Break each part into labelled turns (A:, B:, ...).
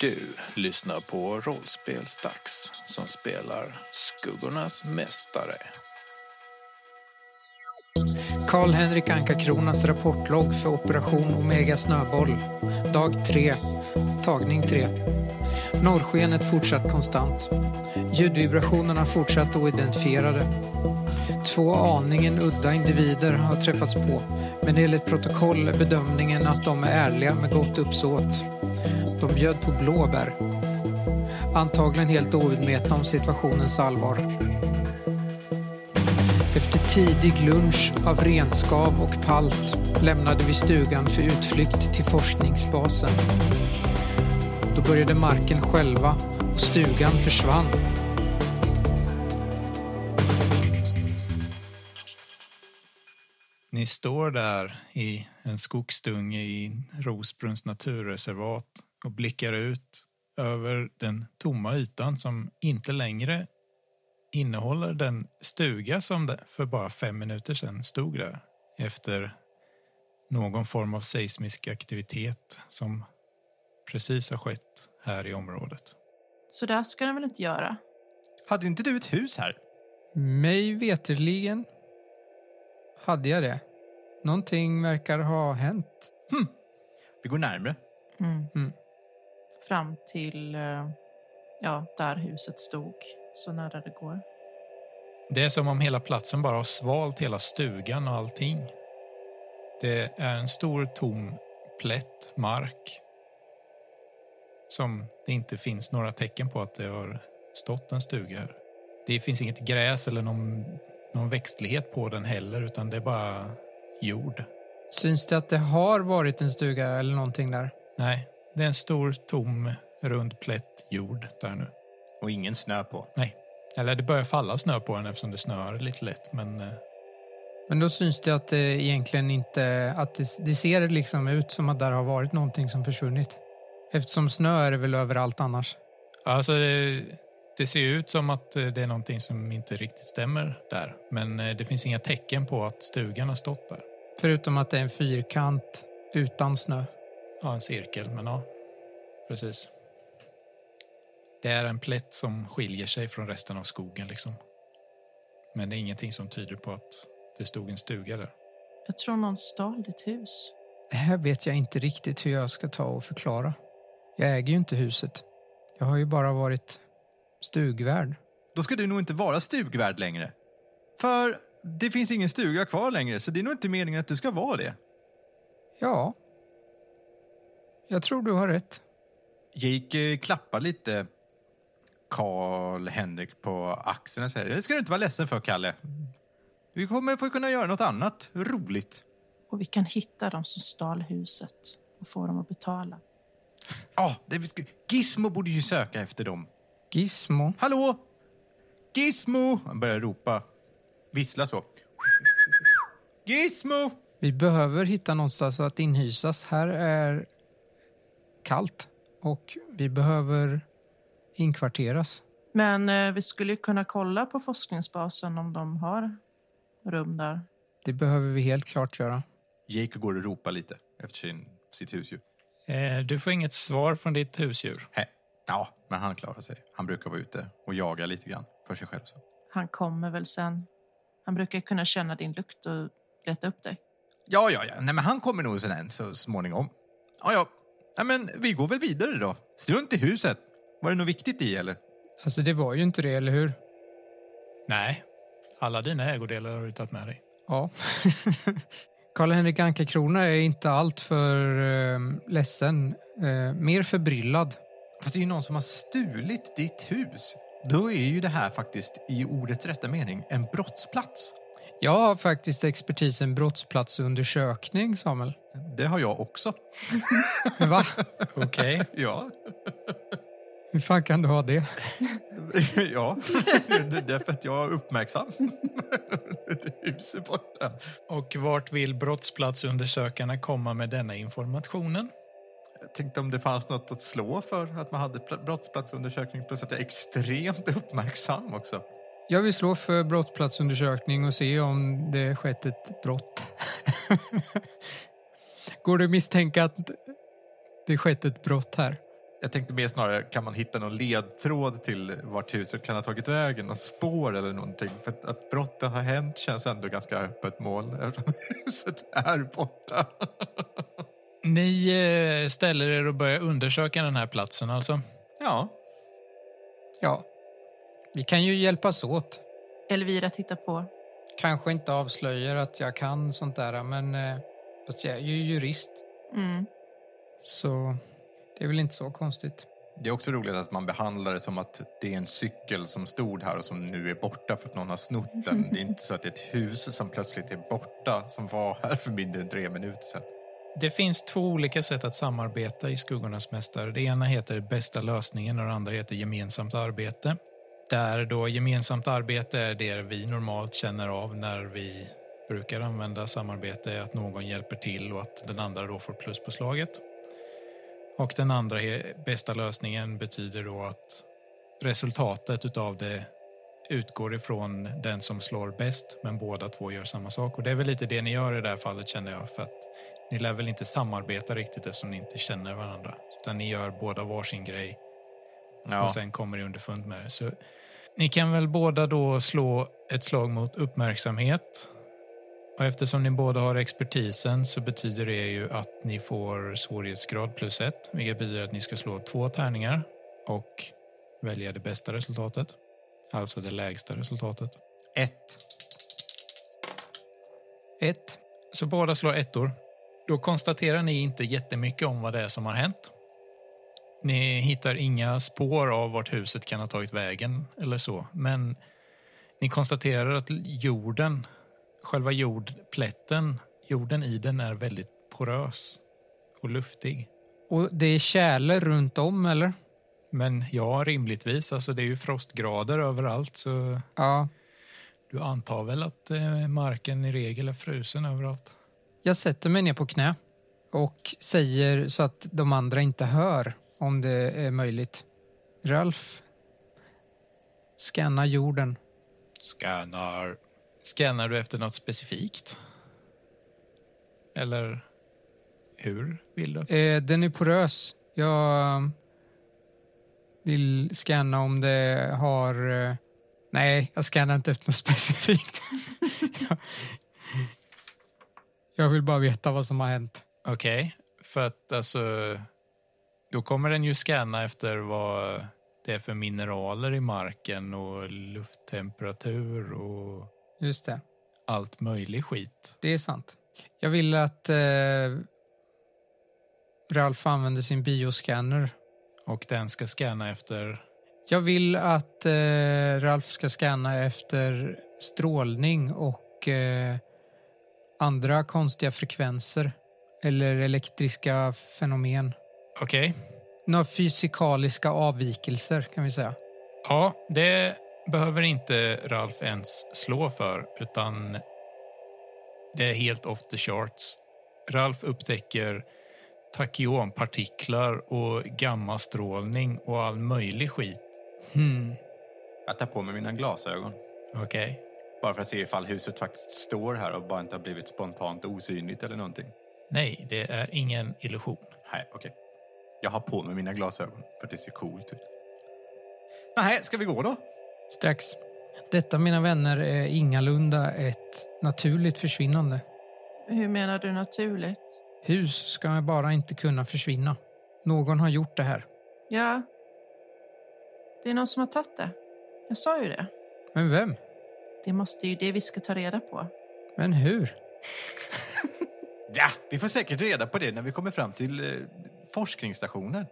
A: Du lyssnar på Rollspelsdags som spelar Skuggornas mästare.
B: Karl-Henrik Anka-Kronas rapportlogg för Operation Omega Snöboll. Dag 3. Tagning 3. Norrskenet fortsatt konstant. Ljudvibrationerna fortsatt oidentifierade. Två aningen udda individer har träffats på, men enligt protokoll är bedömningen att de är ärliga med gott uppsåt. De bjöd på blåbär. Antagligen helt omedvetna om situationens allvar. Efter tidig lunch av renskav och palt lämnade vi stugan för utflykt till forskningsbasen. Då började marken själva och stugan försvann.
A: Ni står där i en skogsdunge i Rosbrunns naturreservat och blickar ut över den tomma ytan som inte längre innehåller den stuga som det för bara fem minuter sedan stod där efter någon form av seismisk aktivitet som precis har skett här i området.
C: Så där ska den väl inte göra?
D: Hade inte du ett hus här?
B: Mig veterligen hade jag det. Någonting verkar ha hänt.
D: Vi går närmre.
B: Mm.
C: Fram till eh, ja, där huset stod, så nära det går.
A: Det är som om hela platsen bara har svalt hela stugan och allting. Det är en stor tom plätt mark som det inte finns några tecken på att det har stått en stuga här. Det finns inget gräs eller någon, någon växtlighet på den heller utan det är bara jord.
B: Syns det att det har varit en stuga eller någonting där?
A: Nej, det är en stor tom rund plätt jord där nu.
D: Och ingen snö på.
A: Nej, eller det börjar falla snö på den eftersom det snöar lite lätt men eh,
B: Men då syns det att det egentligen inte... Att det, det ser liksom ut som att där har varit någonting som försvunnit. Eftersom snö är det väl överallt annars.
A: Alltså, det, det ser ju ut som att eh, det är någonting som inte riktigt stämmer där. Men eh, det finns inga tecken på att stugan har stått där.
B: Förutom att det är en fyrkant utan snö.
A: Ja, en cirkel, men ja. Precis. Det är en plätt som skiljer sig från resten av skogen liksom. Men det är ingenting som tyder på att det stod en stuga där.
C: Jag tror någon stal ditt hus.
B: Det här vet jag inte riktigt hur jag ska ta och förklara. Jag äger ju inte huset. Jag har ju bara varit stugvärd.
D: Då ska du nog inte vara stugvärd längre. För det finns ingen stuga kvar längre, så det är nog inte meningen att du ska vara det.
B: Ja. Jag tror du har rätt.
D: Jake eh, klappar lite Karl-Henrik på axeln och säger det ska du inte vara ledsen för, Kalle. Vi kommer få kunna göra något annat roligt.
C: Och vi kan hitta dem som stal huset och få dem att betala.
D: Ja, det vi ska... Gizmo borde ju söka efter dem.
B: Gizmo.
D: Hallå! Gizmo! Han börjar ropa. Vissla så. Gizmo!
B: Vi behöver hitta någonstans att inhysas. Här är kallt och vi behöver inkvarteras.
C: Men eh, vi skulle ju kunna kolla på forskningsbasen om de har rum där.
B: Det behöver vi helt klart göra.
D: Jake går och ropar lite efter sin, sitt husdjur.
A: Eh, du får inget svar från ditt husdjur.
D: Hä? Ja, men han klarar sig. Han brukar vara ute och jaga lite grann för sig själv. Så.
C: Han kommer väl sen. Han brukar kunna känna din lukt och leta upp dig.
D: Ja, ja, ja. Nej, men han kommer nog sen än så småningom. Ja, ja. Nej, men vi går väl vidare då. Strunt i huset. Var det något viktigt i eller?
B: Alltså det var ju inte det, eller hur?
A: Nej, alla dina ägodelar har du tagit med dig.
B: Ja. Karl-Henrik Anka-Krona är inte allt för eh, ledsen. Eh, mer förbryllad.
D: Fast det är ju någon som har stulit ditt hus. Då är ju det här faktiskt i ordets rätta mening en brottsplats.
B: Jag har faktiskt expertisen brottsplatsundersökning, Samuel.
D: Det har jag också.
B: Va?
A: Okej.
D: Ja,
B: Hur fan kan du ha det?
D: ja. Det är därför att jag är uppmärksam. Det huset borta.
A: Och vart vill brottsplatsundersökarna komma med denna informationen?
D: Jag tänkte om det fanns något att slå för att man hade pl- brottsplatsundersökning plus att jag är extremt uppmärksam också.
B: Jag vill slå för brottsplatsundersökning och se om det skett ett brott. Går det att misstänka att det skett ett brott här?
D: Jag tänkte mer snarare, kan man hitta någon ledtråd till vart huset kan ha tagit vägen? Någon spår eller någonting? För att, att brottet har hänt känns ändå ganska öppet mål eftersom huset är borta.
A: Ni eh, ställer er och börjar undersöka den här platsen alltså.
D: Ja,
B: Ja, vi kan ju hjälpas åt.
C: Elvira tittar på.
B: Kanske inte avslöjar att jag kan sånt där, men eh, fast jag är ju jurist.
C: Mm.
B: Så det är väl inte så konstigt.
D: det är också roligt att man behandlar det som att det är en cykel som stod här och som nu är borta för att någon har snott den. Det är inte så att det är ett hus som plötsligt är borta som var här för mindre än tre minuter sedan.
A: Det finns två olika sätt att samarbeta i Skuggornas mästare. Det ena heter Bästa lösningen och det andra heter Gemensamt arbete. Där då gemensamt arbete är det vi normalt känner av när vi brukar använda samarbete, att någon hjälper till och att den andra då får plus på slaget. Och den andra he- bästa lösningen betyder då att resultatet utav det utgår ifrån den som slår bäst, men båda två gör samma sak. Och det är väl lite det ni gör i det här fallet känner jag, för att ni lär väl inte samarbeta riktigt eftersom ni inte känner varandra, utan ni gör båda varsin grej
D: Ja,
A: och sen kommer ni underfund med det. Så ni kan väl båda då slå ett slag mot uppmärksamhet. Och eftersom ni båda har expertisen så betyder det ju att ni får svårighetsgrad plus ett, vilket betyder att ni ska slå två tärningar och välja det bästa resultatet. Alltså det lägsta resultatet.
D: ett.
B: Ett.
A: Så båda slår ettor. Då konstaterar ni inte jättemycket om vad det är som har hänt. Ni hittar inga spår av vart huset kan ha tagit vägen eller så, men ni konstaterar att jorden, själva jordplätten, jorden i den är väldigt porös och luftig.
B: Och det är tjäle runt om, eller?
A: Men ja, rimligtvis, alltså det är ju frostgrader överallt så
B: Ja.
A: du antar väl att eh, marken i regel är frusen överallt.
B: Jag sätter mig ner på knä och säger så att de andra inte hör, om det är möjligt. Ralf, scanna jorden.
A: Scannar. Scannar du efter något specifikt? Eller hur vill du?
B: Eh, den är porös. Jag um, vill scanna om det har... Eh, nej, jag scannar inte efter något specifikt. jag, jag vill bara veta vad som har hänt.
A: Okej, för att alltså... Då kommer den ju scanna efter vad det är för mineraler i marken och lufttemperatur och
B: Just det,
A: allt möjlig skit.
B: det är sant. Jag vill att eh, Ralf använder sin bioscanner.
A: Och den ska scanna efter...
B: Jag vill att eh, Ralf ska scanna efter strålning och eh, andra konstiga frekvenser eller elektriska fenomen.
A: Okej.
B: Några fysikaliska avvikelser kan vi säga.
A: Ja, det behöver inte Ralf ens slå för, utan det är helt off the charts. Ralf upptäcker takyonpartiklar och gammastrålning och all möjlig skit.
B: Hmm.
D: Jag tar på mig mina glasögon.
A: Okej.
D: Bara för att se ifall huset faktiskt står här och bara inte har blivit spontant osynligt eller någonting.
A: Nej, det är ingen illusion.
D: Nej, okej. Jag har på mig mina glasögon för att det ser coolt ut. Nej, ska vi gå då?
B: Strax. Detta, mina vänner, är ingalunda ett naturligt försvinnande.
C: Hur menar du naturligt?
B: Hus ska bara inte kunna försvinna. Någon har gjort det här.
C: Ja, det är någon som har tagit det. Jag sa ju det.
B: Men vem?
C: Det måste ju det vi ska ta reda på.
B: Men hur?
D: Ja, vi får säkert reda på det när vi kommer fram till eh, forskningsstationen.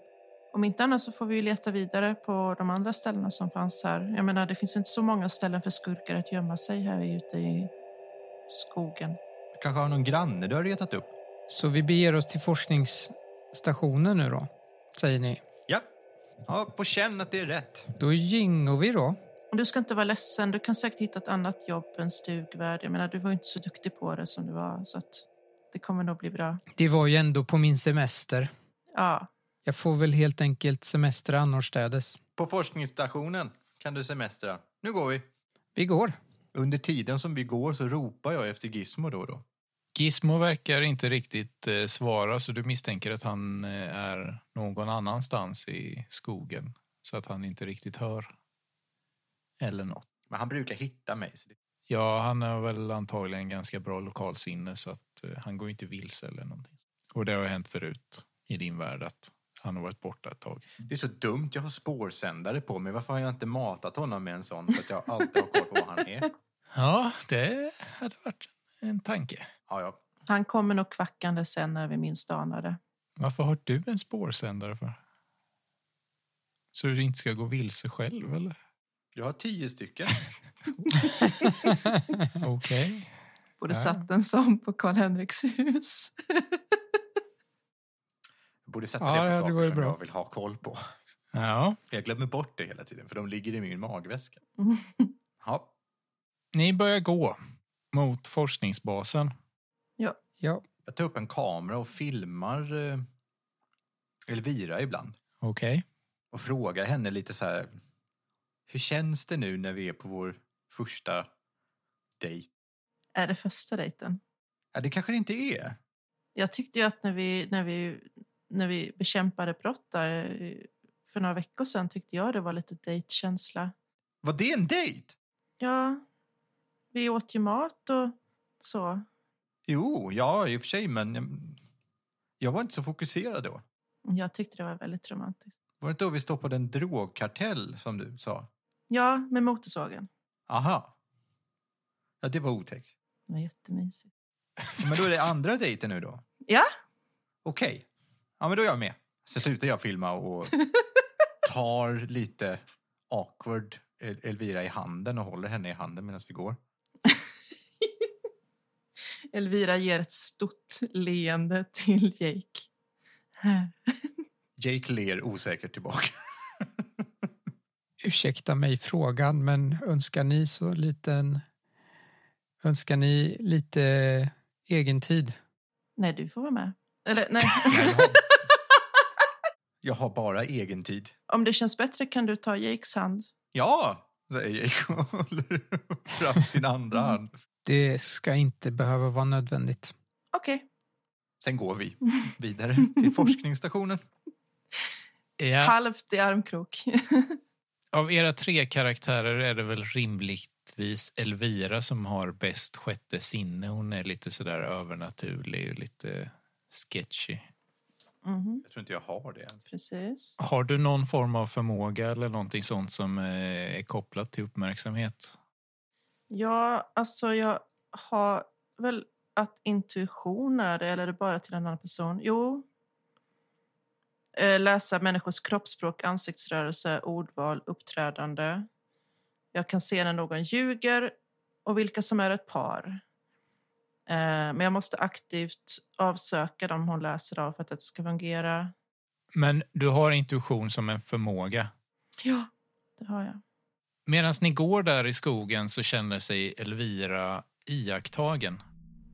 C: Om inte annars så får vi ju leta vidare på de andra ställena som fanns här. Jag menar, det finns inte så många ställen för skurkar att gömma sig här ute i skogen.
D: Kanske har någon granne du har retat upp?
B: Så vi beger oss till forskningsstationen nu då, säger ni.
D: Ja. Ja, på känn att det är rätt.
B: Då gingo vi då.
C: Och Du ska inte vara ledsen, du kan säkert hitta ett annat jobb än stugvärd. Jag menar, du var ju inte så duktig på det som du var, så att det kommer nog bli bra.
B: Det var ju ändå på min semester.
C: Ja,
B: Jag får väl helt enkelt semester annorstädes.
D: På forskningsstationen kan du semestra. Nu går vi.
B: Vi går.
D: Under tiden som vi går så ropar jag efter Gizmo då och då.
A: Gizmo verkar inte riktigt eh, svara så du misstänker att han eh, är någon annanstans i skogen så att han inte riktigt hör. Eller något.
D: Men han brukar hitta mig. Så det...
A: Ja, han har väl antagligen ganska bra lokalsinne så att eh, han går inte vilse eller någonting. Och det har hänt förut i din värld att han har varit borta ett tag.
D: det är så dumt. Jag har spårsändare på mig. Varför har jag inte matat honom med en sån så att jag alltid har koll på var han är?
A: Ja, det hade varit en tanke.
D: Ja, ja.
C: Han kommer nog kvackande sen när vi minst anar det.
A: Varför har du en spårsändare för? Så du inte ska gå vilse själv eller?
D: Jag har tio stycken.
A: Okej.
C: Borde
A: Ja.
C: satt en sån på Karl-Henriks hus.
D: Jag borde sätta
B: Ja, det
D: det på
B: hade
D: saker
B: varit
D: som
B: bra.
D: jag vill ha koll på.
A: Ja.
D: Jag glömmer bort det hela tiden för de ligger i min magväska. Ja,
A: Ni börjar gå mot forskningsbasen.
B: Ja,
D: jag tar upp en kamera och filmar eh, Elvira ibland.
A: Okej.
D: och frågar henne lite så här. Hur känns det nu när vi är på vår första dejt?
C: Är det första dejten?
D: Ja, det kanske det inte är.
C: Jag tyckte ju att när vi, när vi, när vi bekämpade brott där eh, för några veckor sedan tyckte jag det var lite dejtkänsla.
D: Var det en dejt?
C: Ja, vi åt ju mat och så.
D: Jo, ja i och för sig, men jag, jag var inte så fokuserad då.
C: Jag tyckte det var väldigt romantiskt.
D: Var det inte då vi stoppade en drogkartell som du sa?
C: Ja, med motorsågen.
D: Aha. Ja, det var otäckt.
C: Det var jättemysigt.
D: Men då är det andra dejten nu då?
C: Ja.
D: Okej. Ja, men då är jag med. Så slutar jag filma och tar lite awkward El- Elvira i handen och håller henne i handen medan vi går.
C: Elvira ger ett stort leende till Jake. Här.
D: Jake ler osäkert tillbaka.
B: ursäkta mig frågan, men önskar ni så liten... Önskar ni lite egen tid?
C: Nej, du får vara med. Eller nej,
D: Jag har, jag har bara egen tid.
C: om det känns bättre kan du ta Jakes hand.
D: Ja, säger Jake och håller fram sin andra hand.
B: Det ska inte behöva vara nödvändigt.
C: Okej.
D: Sen går vi vidare till forskningsstationen.
A: Ja.
C: Halvt i armkrok.
A: Av era tre karaktärer är det väl rimligtvis Elvira som har bäst sjätte sinne. Hon är lite sådär övernaturlig och lite sketchy.
C: Mhm,
D: Jag tror inte jag har det ens.
C: precis.
A: Har du någon form av förmåga eller någonting sånt som eh, är kopplat till uppmärksamhet?
C: Ja, alltså jag har väl att intuition är det, eller är det bara till en annan person? Jo. Eh, Läsa människors kroppsspråk, ansiktsrörelse, ordval, uppträdande. Jag kan se när någon ljuger och vilka som är ett par. Eh, Men jag måste aktivt avsöka dem hon läser av för att det ska fungera.
A: Men du har intuition som en förmåga.
C: Ja, det har jag.
A: Medan ni går där i skogen så känner sig Elvira iakttagen.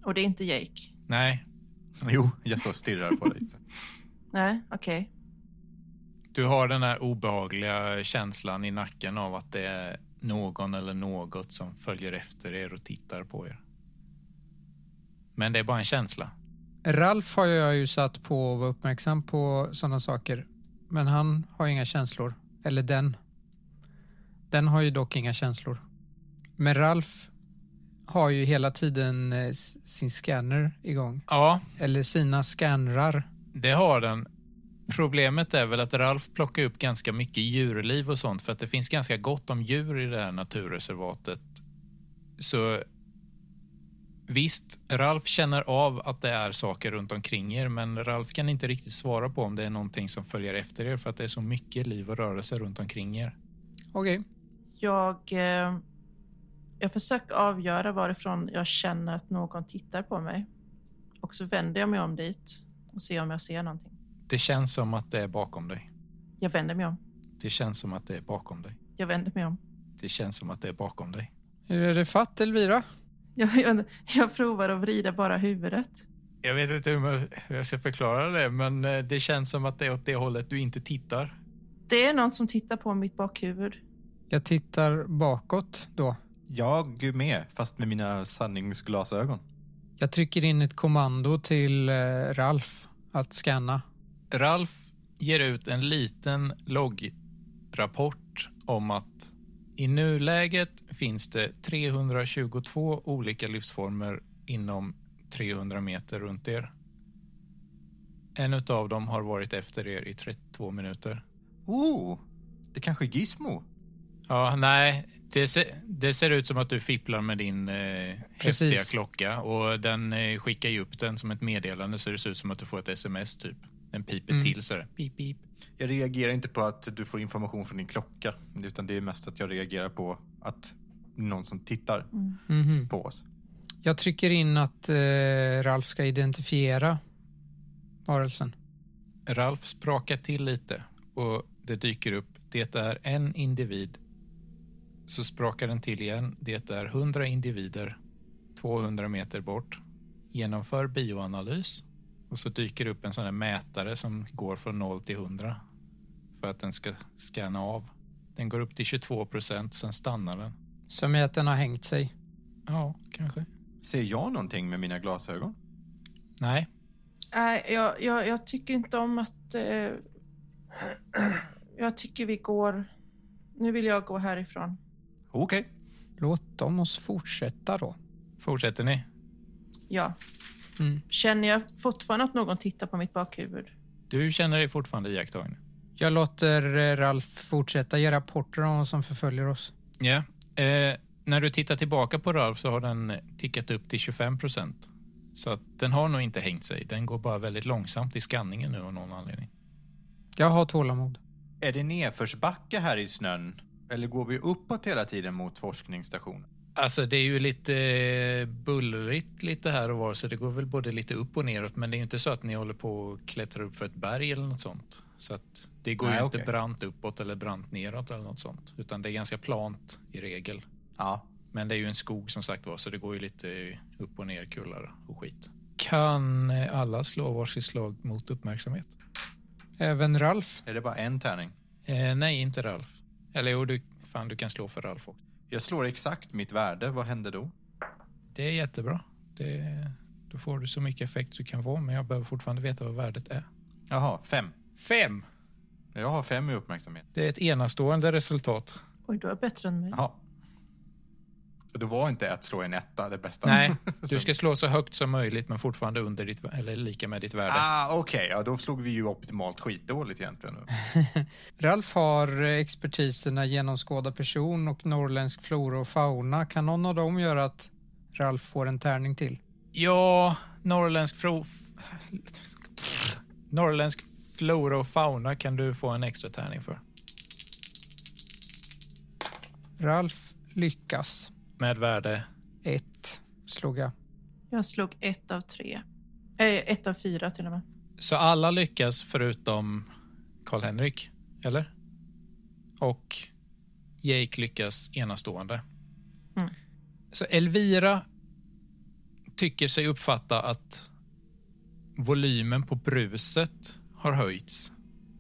C: Och det är inte Jake?
A: Nej,
D: Jo, jag står och stirrar på dig.
C: Nej, okej.
A: Du har den här obehagliga känslan i nacken av att det är någon eller något som följer efter er och tittar på er. Men det är bara en känsla.
B: Ralf har jag ju satt på att vara uppmärksam på sådana saker. Men han har inga känslor. Eller den. Den har ju dock inga känslor. Men Ralf har ju hela tiden eh, s- sin scanner igång.
A: Ja,
B: Eller sina scannrar.
A: det har den. Problemet är väl att Ralf plockar upp ganska mycket djurliv och sånt för att det finns ganska gott om djur i det här naturreservatet. Så visst, Ralf känner av att det är saker runt omkring er men Ralf kan inte riktigt svara på om det är någonting som följer efter er för att det är så mycket liv och rörelse runt omkring er.
B: Okej.
C: Jag, eh, jag försöker avgöra varifrån jag känner att någon tittar på mig. Och så vänder jag mig om dit och ser om jag ser någonting.
A: Det känns som att det är bakom dig.
C: Jag vänder mig om.
A: Det känns som att det är bakom dig.
C: Jag vänder mig om.
A: Det känns som att det är bakom dig.
B: Hur är det fatt Elvira?
C: Jag, jag, jag provar att vrida bara huvudet.
A: Jag vet inte hur man- hur jag ska förklara det, men eh, det känns som att det är åt det hållet du inte tittar.
C: Det är någon som tittar på mitt bakhuvud.
B: Jag tittar bakåt då.
D: Jag med, fast med mina sanningsglasögon.
B: Jag trycker in ett kommando till eh, Ralf att scanna.
A: Ralf ger ut en liten loggrapport om att i nuläget finns det 322 olika livsformer inom 300 meter runt er. En utav dem har varit efter er i 32 minuter.
D: Oh, det kanske är Gizmo?
A: Ja, nej, det, se, det ser ut som att du fipplar med din eh,
B: Precis.
A: häftiga klocka och den eh, skickar ju upp den som ett meddelande så det ser ut som att du får ett sms typ. Den piper
B: Mm.
A: till sådär. Pip, pip.
D: Jag reagerar inte på att du får information från din klocka, utan det är mest att jag reagerar på att någon som tittar
B: Mhm.
D: på oss.
B: Jag trycker in att eh, Ralf ska identifiera varelsen.
A: Ralf sprakar till lite och det dyker upp. Det är en individ. Så sprakar den till igen. Det är 100 individer 200 meter bort. Genomför bioanalys och så dyker det upp en sån här mätare som går från 0 till 100 för att den ska scanna av. Den går upp till 22 procent, sen stannar den.
B: Som är att den har hängt sig.
A: Ja, kanske.
D: Ser jag någonting med mina glasögon?
A: Nej,
C: Nej, jag, jag, jag tycker inte om att... Eh, jag tycker vi går... Nu vill jag gå härifrån.
D: Okej.
B: Låt dem oss fortsätta då.
A: fortsätter ni?
C: Ja.
B: Mm.
C: Känner jag fortfarande att någon tittar på mitt bakhuvud?
A: Du känner dig fortfarande iakttagen.
B: Jag låter eh, Ralf fortsätta ge rapporter om vad som förföljer oss.
A: Ja. Eh, när du tittar tillbaka på Ralf så har den tickat upp till 25 procent. Så att den har nog inte hängt sig. Den går bara väldigt långsamt i skanningen nu av någon anledning.
B: Jag har tålamod.
D: Är det nedförsbacke här i snön? Eller går vi uppåt hela tiden mot forskningsstationen?
A: Alltså det är ju lite eh, bullrigt lite här och var så det går väl både lite upp och neråt men det är ju inte så att ni håller på och klättrar upp för ett berg eller något sånt. Så att det går
D: Nej,
A: ju inte
D: okej.
A: brant uppåt eller brant neråt eller något sånt utan det är ganska plant i regel.
D: Ja.
A: Men det är ju en skog som sagt var, så det går ju lite upp och ner kullar och skit. Kan eh, alla slå varsitt slag mot uppmärksamhet?
B: Även Ralf.
D: Är det bara en tärning?
A: Eh, nej, inte Ralf. Eller jo, du, fan, du kan slå för Ralf också.
D: Jag slår exakt mitt värde. Vad hände då?
A: Det är jättebra. Det, då får du så mycket effekt du kan få, men jag behöver fortfarande veta vad värdet är.
D: Jaha, fem.
A: Fem!
D: Jag har fem i uppmärksamhet.
A: Det är ett enastående resultat.
C: Oj, du är bättre än mig.
D: Jaha. Och Det var inte att slå en etta det bästa.
A: Nej, du
D: Så-
A: ska slå så högt som möjligt, men fortfarande under ditt, eller lika med ditt värde.
D: Ah, okej. Ja, då slog vi ju optimalt skitdåligt egentligen.
B: Ralf har eh, expertiserna genomskåda person och norrländsk flora och fauna. Kan någon av dem göra att Ralf får en tärning till?
A: Ja, norrländsk fro... Norrländsk flora och fauna kan du få en extra tärning för.
B: Ralf lyckas.
A: Med värde.
B: Ett, slog jag.
C: Jag slog ett av tre. Eh, ett av fyra till och med.
A: Så alla lyckas förutom Karl-Henrik, eller? Och Jake lyckas enastående.
C: Mm.
A: Så Elvira tycker sig uppfatta att volymen på bruset har höjts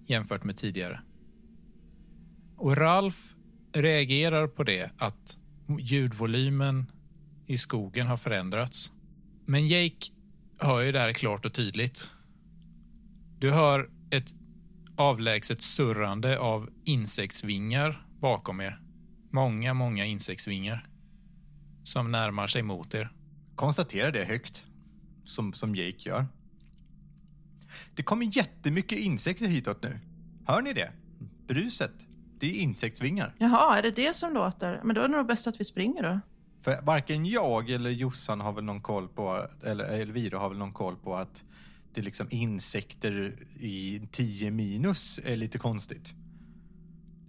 A: jämfört med tidigare. Och Ralf reagerar på det att ljudvolymen i skogen har förändrats. Men Jake hör ju det här klart och tydligt. Du hör ett avlägset surrande av insektsvingar bakom er. Många, många insektsvingar som närmar sig mot er.
D: Konstatera det högt, som, som Jake gör. Det kommer jättemycket insekter hitåt nu. Hör ni det? Bruset. Det är insektsvingar.
C: Jaha, är det det som låter? Men då är det nog bäst att vi springer då.
D: För varken jag eller Jossan har väl någon koll på, eller Elvira har väl någon koll på att det är liksom insekter i 10 minus är lite konstigt.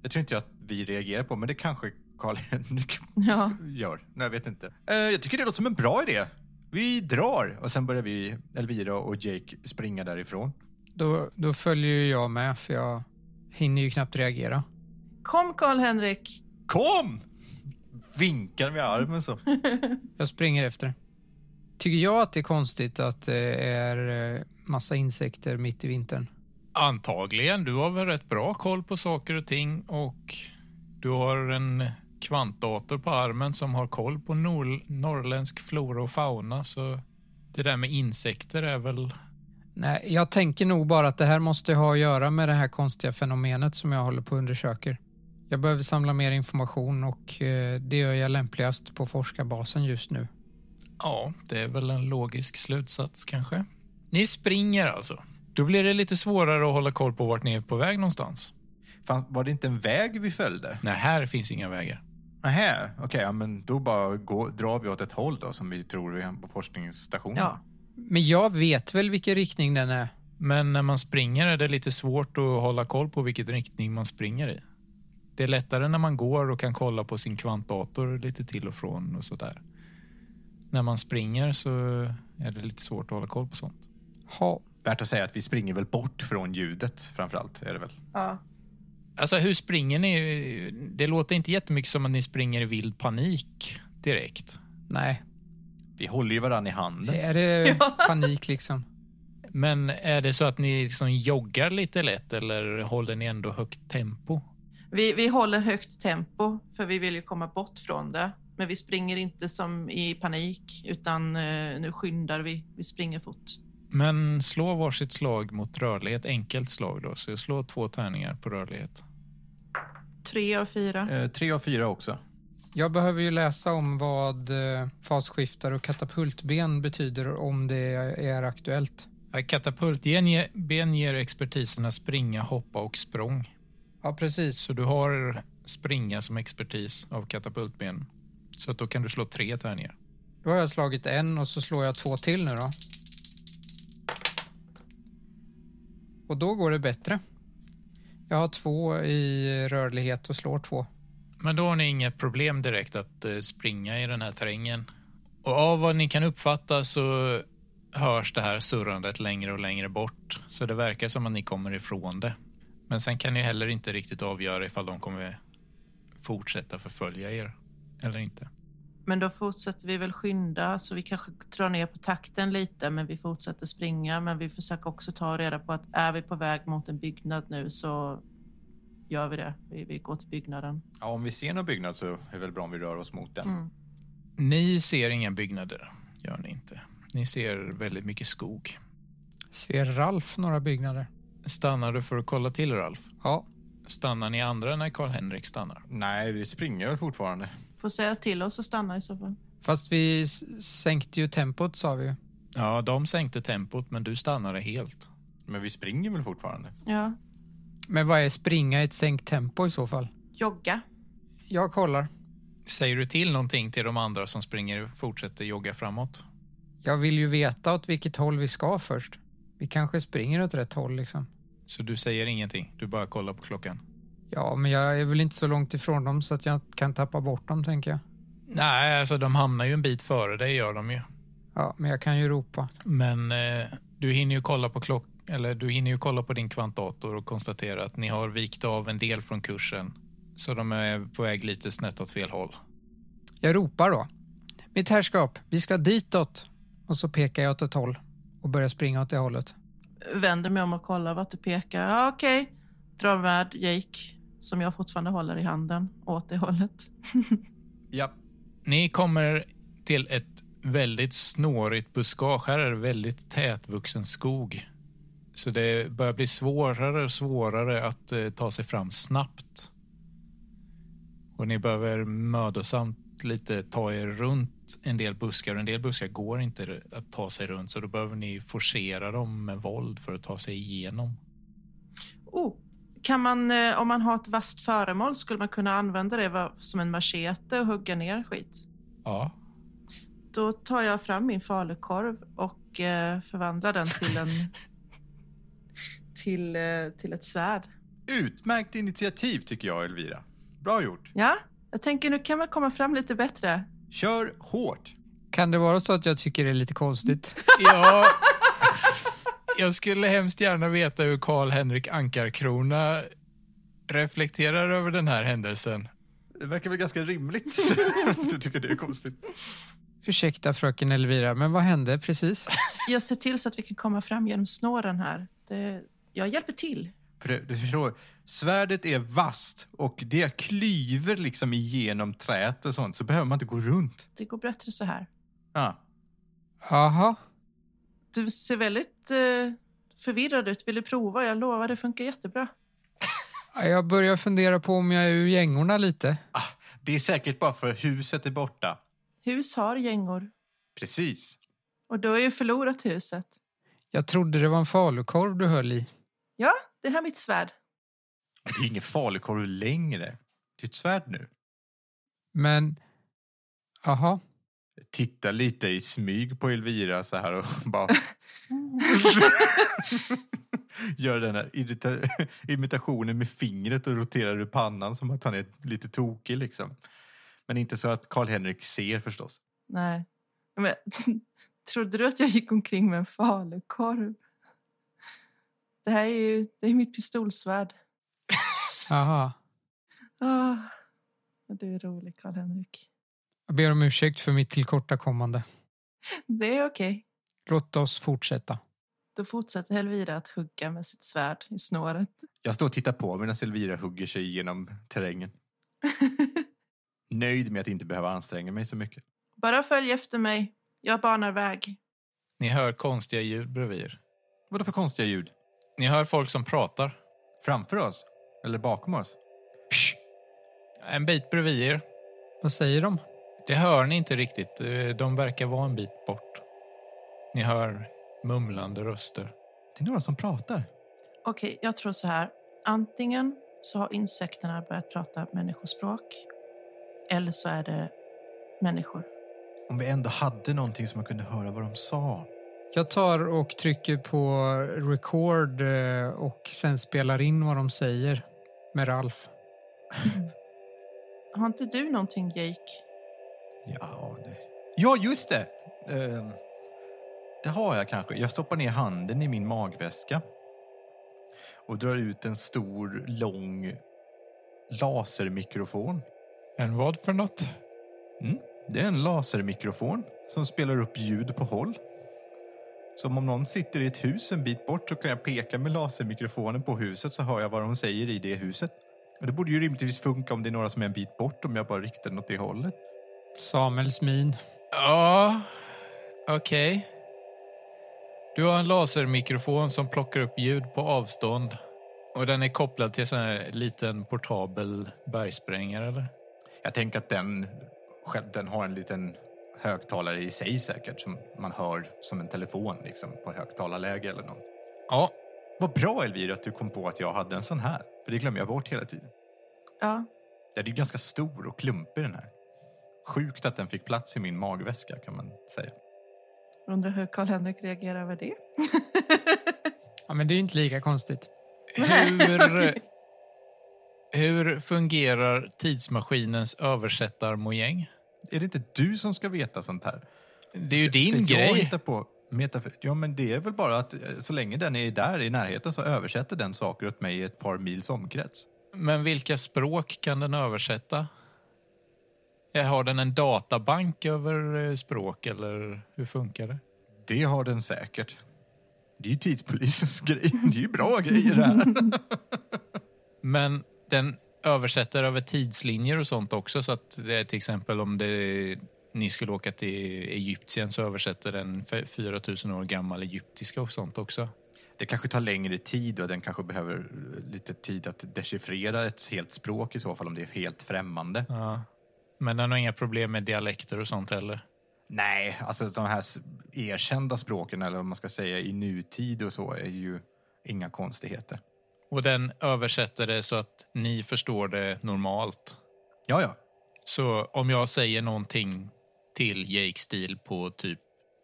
D: Jag tror inte att vi reagerar på, men det kanske Karl-Henrik
C: Ja.
D: gör. Nej, jag vet inte. Eh, Jag tycker det låter som en bra idé. Vi drar och sen börjar vi, Elvira och Jake, springa därifrån.
B: Då, då följer ju jag med, för jag hinner ju knappt reagera.
C: Kom Karl-Henrik!
D: Kom! Vinkar med armen så.
B: Jag springer efter. Tycker jag att det är konstigt att det är eh, massa insekter mitt i vintern?
A: Antagligen. Du har väl rätt bra koll på saker och ting och du har en kvantdator på armen som har koll på nor- norrländsk flora och fauna. Så Det där med insekter är väl...
B: Nej, jag tänker nog bara att det här måste ha att göra med det här konstiga fenomenet som jag håller på och undersöker. Jag behöver samla mer information och eh, det gör jag lämpligast på forskarbasen just nu.
A: Ja, det är väl en logisk slutsats kanske. Ni springer alltså. Då blir det lite svårare att hålla koll på vart ni är på väg någonstans.
D: Fan, var det inte en väg vi följde?
A: Nej, här finns inga vägar.
D: Nähä, okej, ja, men då bara gå, drar vi åt ett håll då som vi tror är på forskningsstationen.
C: Ja.
B: Men jag vet väl vilken riktning den är?
A: Men när man springer är det lite svårt att hålla koll på vilken riktning man springer i. Det är lättare när man går och kan kolla på sin kvantdator lite till och från och sådär. När man springer så är det lite svårt att hålla koll på sånt.
B: Ha.
D: Värt att säga att vi springer väl bort från ljudet framförallt, är det väl?
C: Ja.
A: Alltså hur springer ni? Det låter inte jättemycket som att ni springer i vild panik direkt.
B: Nej,
D: Vi håller ju varandra i handen.
B: det är det panik liksom.
A: Men är det så att ni liksom joggar lite lätt eller håller ni ändå högt tempo?
C: Vi, vi håller högt tempo, för vi vill ju komma bort från det. Men vi springer inte som i panik, utan eh, nu skyndar vi. Vi springer fort.
A: Men slå varsitt slag mot rörlighet, enkelt slag då. Så jag slår två tärningar på rörlighet.
C: Tre av fyra.
D: Eh, tre av fyra också.
B: Jag behöver ju läsa om vad eh, fasskiftare och katapultben betyder om det är aktuellt.
A: Ja, Katapultben ge- ben ger expertiserna springa, hoppa och språng.
B: Ja, precis.
A: Så du har springa som expertis av katapultben. Så att då kan du slå tre tärningar.
B: Då har jag slagit en och så slår jag två till nu då. Och då går det bättre. Jag har två i rörlighet och slår två.
A: Men då har ni inget problem direkt att eh, springa i den här terrängen. Och av vad ni kan uppfatta så hörs det här surrandet längre och längre bort. Så det verkar som att ni kommer ifrån det. Men sen kan ni heller inte riktigt avgöra ifall de kommer fortsätta förfölja er eller inte.
C: Men då fortsätter vi väl skynda, så vi kanske drar ner på takten lite, men vi fortsätter springa. Men vi försöker också ta reda på att är vi på väg mot en byggnad nu så gör vi det. Vi, vi går till byggnaden.
D: Ja, om vi ser någon byggnad så är det väl bra om vi rör oss mot den.
C: Mm.
A: Ni ser inga byggnader, gör ni inte. Ni ser väldigt mycket skog.
B: Ser Ralf några byggnader?
A: Stannar du för att kolla till Ralf?
B: Ja.
A: Stannar ni andra när Karl-Henrik stannar?
D: Nej, vi springer väl fortfarande.
C: Får säga till oss att stanna i så fall.
B: Fast vi s- sänkte ju tempot sa vi ju.
A: Ja, de sänkte tempot, men du stannade helt.
D: Men vi springer väl fortfarande?
C: Ja.
B: Men vad är springa i ett sänkt tempo i så fall?
C: Jogga.
B: Jag kollar.
A: Säger du till någonting till de andra som springer fortsätter jogga framåt?
B: Jag vill ju veta åt vilket håll vi ska först. Vi kanske springer åt rätt håll liksom.
A: Så du säger ingenting, du bara kollar på klockan?
B: Ja, men jag är väl inte så långt ifrån dem så att jag kan tappa bort dem tänker jag.
A: Nej, alltså de hamnar ju en bit före dig gör de ju.
B: Ja, men jag kan ju ropa.
A: Men eh, du hinner ju kolla på klock eller du hinner ju kolla på din kvantdator och konstatera att ni har vikt av en del från kursen. Så de är på väg lite snett åt fel håll.
B: Jag ropar då. Mitt herrskap, vi ska ditåt. Och så pekar jag åt ett håll och börjar springa åt det hållet.
C: Vänder mig om och kollar vart du pekar. Ja, okej. Drar med Jake, som jag fortfarande håller i handen, åt det hållet.
D: Ja.
A: Ni kommer till ett väldigt snårigt buskage. Här är det väldigt tätvuxen skog. Så det börjar bli svårare och svårare att eh, ta sig fram snabbt. Och ni behöver mödosamt lite ta er runt en del buskar. En del buskar går inte att ta sig runt så då behöver ni forcera dem med våld för att ta sig igenom.
C: Oh. Kan man, eh, om man har ett vasst föremål, skulle man kunna använda det va- som en machete och hugga ner skit?
A: Ja.
C: Då tar jag fram min falukorv och eh, förvandlar den till en... till, eh, till ett svärd.
D: Utmärkt initiativ tycker jag, Elvira. Bra gjort.
C: Ja, jag tänker nu kan man komma fram lite bättre.
D: Kör hårt.
B: Kan det vara så att jag tycker det är lite konstigt?
A: Ja. Jag skulle hemskt gärna veta hur Karl-Henrik Ankarkrona reflekterar över den här händelsen.
D: Det verkar väl ganska rimligt. du tycker det är konstigt.
B: Ursäkta fröken Elvira, men vad hände precis?
C: Jag ser till så att vi kan komma fram genom snåren här. Det, jag hjälper till.
D: För du, du förstår, svärdet är vasst och det klyver liksom igenom träet och sånt, så behöver man inte gå runt.
C: Det går bättre så här.
D: Ja.
B: Jaha,
C: Du ser väldigt eh, förvirrad ut. Vill du prova? Jag lovar, det funkar jättebra.
B: Ja, Jag börjar fundera på om jag är ur gängorna lite.
D: Ah, det är säkert bara för huset är borta.
C: Hus har gängor
D: Precis.
C: och du har ju förlorat huset.
B: Jag trodde det var en falukorv du höll i.
C: Ja, det här är mitt svärd.
D: Det är ingen falukorv längre. Det är ett svärd nu.
B: Men... Jaha.
D: Titta lite i smyg på Elvira så här och bara... Gör den här irrita- imitationen med fingret och roterar ur pannan som att han är lite tokig liksom. Men inte så att Karl-Henrik ser förstås.
C: Nej. Men, trodde du att jag gick omkring med en falukorv? Det här är ju det är mitt pistolsvärd.
B: Aha.
C: Ah, du är rolig, Karl-Henrik.
B: Jag ber om ursäkt för mitt tillkortakommande.
C: Det är okej.
B: Låt oss fortsätta.
C: Då fortsätter Helvira att hugga med sitt svärd i snåret.
D: Jag står och tittar på medan Elvira hugger sig genom terrängen. Nöjd med att inte behöva anstränga mig så mycket.
C: Bara följ efter mig. Jag banar väg.
A: Ni hör konstiga ljud bredvid er.
D: Vadå för konstiga ljud?
A: Ni hör folk som pratar.
D: Framför oss? Eller bakom oss?
A: En bit bredvid er.
B: Vad säger de?
A: Det hör ni inte riktigt. Eh, De verkar vara en bit bort. Ni hör mumlande röster.
D: Det är några som pratar.
C: Okej, jag tror så här. Antingen så har insekterna börjat prata människospråk eller så är det människor.
D: Om vi ändå hade någonting som man kunde höra vad de sa.
B: Jag tar och trycker på record eh, och sen spelar in vad de säger med Ralf.
C: Har inte du någonting, Jake?
D: Ja, det... ja just det! Ehm, det har jag kanske. Jag stoppar ner handen i min magväska och drar ut en stor, lång lasermikrofon.
A: En vad för något?
D: Mm. Det är en lasermikrofon som spelar upp ljud på håll. Så om någon sitter i ett hus en bit bort så kan jag peka med lasermikrofonen på huset så hör jag vad de säger i det huset. Och det borde ju rimligtvis funka om det är några som är en bit bort om jag bara riktar den åt det hållet.
B: Samuels min.
A: Ja, okej. Du har en lasermikrofon som plockar upp ljud på avstånd. Och den är kopplad till en sån här liten portabel bergsprängare, eller?
D: Jag tänker att den, själv- den har en liten högtalare i sig säkert som man hör som en telefon liksom på högtalarläge eller något.
A: Ja,
D: Vad bra Elvira att du kom på att jag hade en sån här. För det glömmer jag bort hela tiden.
C: Ja,
D: Den är ju ganska stor och klumpig den här. Sjukt att den fick plats i min magväska kan man säga.
C: undrar hur Karl-Henrik reagerar över det.
B: Ja, men det är inte lika konstigt.
A: Hur, hur fungerar tidsmaskinens översättarmojäng?
D: Är det inte du som ska veta sånt här?
A: Det är ju
D: ska
A: din
D: jag
A: grej.
D: Hitta på metaf- ja, men det är väl bara att eh, så länge den är där i närheten så översätter den saker åt mig i ett par mils omkrets.
A: Men vilka språk kan den översätta? Eh, Har den en databank över eh, språk, eller hur funkar det?
D: Det har den säkert. Det är ju tidspolisens grej. Det är ju bra grejer det här.
A: Men den översätter över tidslinjer och sånt också. Så att det är till exempel om det, ni skulle åka till Egypten så översätter den f- 4000 år gammal egyptiska och sånt också.
D: Det kanske tar längre tid och den kanske behöver eh, lite tid att dechiffrera ett helt språk i så fall om det är helt främmande.
A: Ja. Men den har inga problem med dialekter och sånt heller.
D: Nej, alltså de här s- erkända språken eller vad man ska säga i nutid och så är ju inga konstigheter.
A: Och den översätter det så att ni förstår det normalt.
D: Ja, ja.
A: Så om jag säger någonting till Jake Steele på typ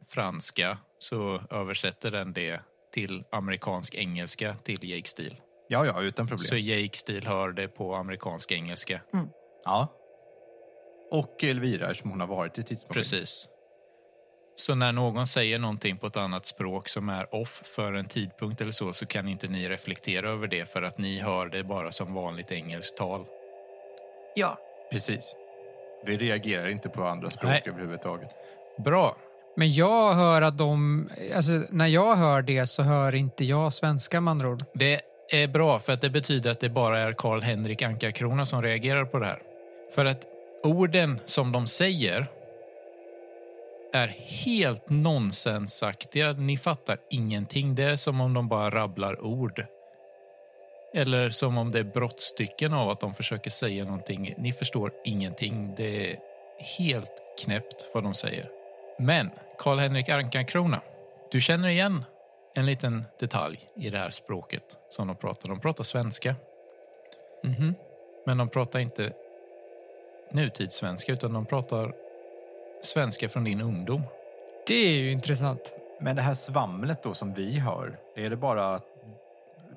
A: franska så översätter den det till amerikansk engelska till Jake Steele.
D: Ja, ja, utan problem.
A: Så Jake Steele hör det på amerikansk engelska.
D: Ja. Och Elvira eftersom hon har varit i tidsmaskinen.
A: Precis. Så när någon säger någonting på ett annat språk som är off för en tidpunkt eller så, så kan inte ni reflektera över det för att ni hör det bara som vanligt engelskt tal.
C: Ja,
D: Precis. Vi reagerar inte på andra språk
A: Nej.
D: överhuvudtaget.
A: Bra.
B: Men jag hör att de... Alltså, när jag hör det så hör inte jag svenska med andra ord.
A: Det är bra för att det betyder att det bara är Karl-Henrik Ankarkrona som reagerar på det här. För att orden som de säger är helt nonsensaktiga. Ni fattar ingenting. Det är som om de bara rabblar ord. Eller som om det är brottstycken av att de försöker säga någonting. Ni förstår ingenting. Det är helt knäppt vad de säger. Men Karl-Henrik Ankarkrona, du känner igen en liten detalj i det här språket som de pratar. De pratar svenska. Mm-hmm.
B: Mhm.
A: Men de pratar inte nutidssvenska, utan de pratar svenska från din ungdom.
B: Det är ju intressant.
D: Men det här svamlet då som vi hör, är det bara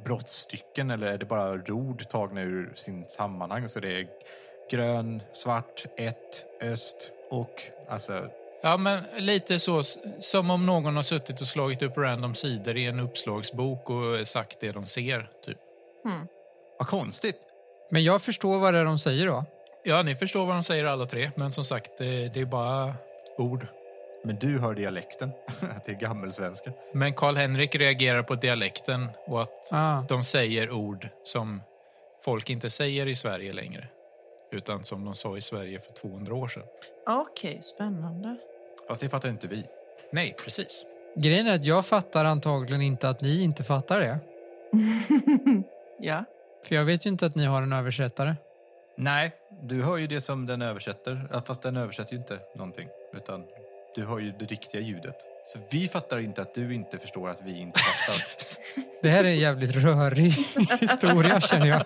D: brottstycken eller är det bara ord tagna ur sin sammanhang? Så det är grön, svart, ett, öst och alltså
A: Ja, men lite så s- som om någon har suttit och slagit upp random sidor i en uppslagsbok och sagt det de ser. Typ.
D: vad konstigt.
B: Men jag förstår vad det är de säger då.
A: Ja, ni förstår vad de säger alla tre, men som sagt, det, det är bara ord.
D: Men du hör dialekten, att det är gammelsvenska.
A: Men Karl-Henrik reagerar på dialekten och att
B: Ah.
A: de säger ord som folk inte säger i Sverige längre, utan som de sa i Sverige för 200 år sedan.
C: Ah, Okej, spännande.
D: Fast det fattar inte vi.
A: Nej, precis.
B: Grejen är att jag fattar antagligen inte att ni inte fattar det.
C: ja.
B: För jag vet ju inte att ni har en översättare.
D: Nej, du hör ju det som den översätter. Ja, Fast den översätter ju inte någonting. Utan du hör ju det riktiga ljudet. Så vi fattar inte att du inte förstår att vi inte fattar.
B: Det här är en jävligt rörig historia känner jag.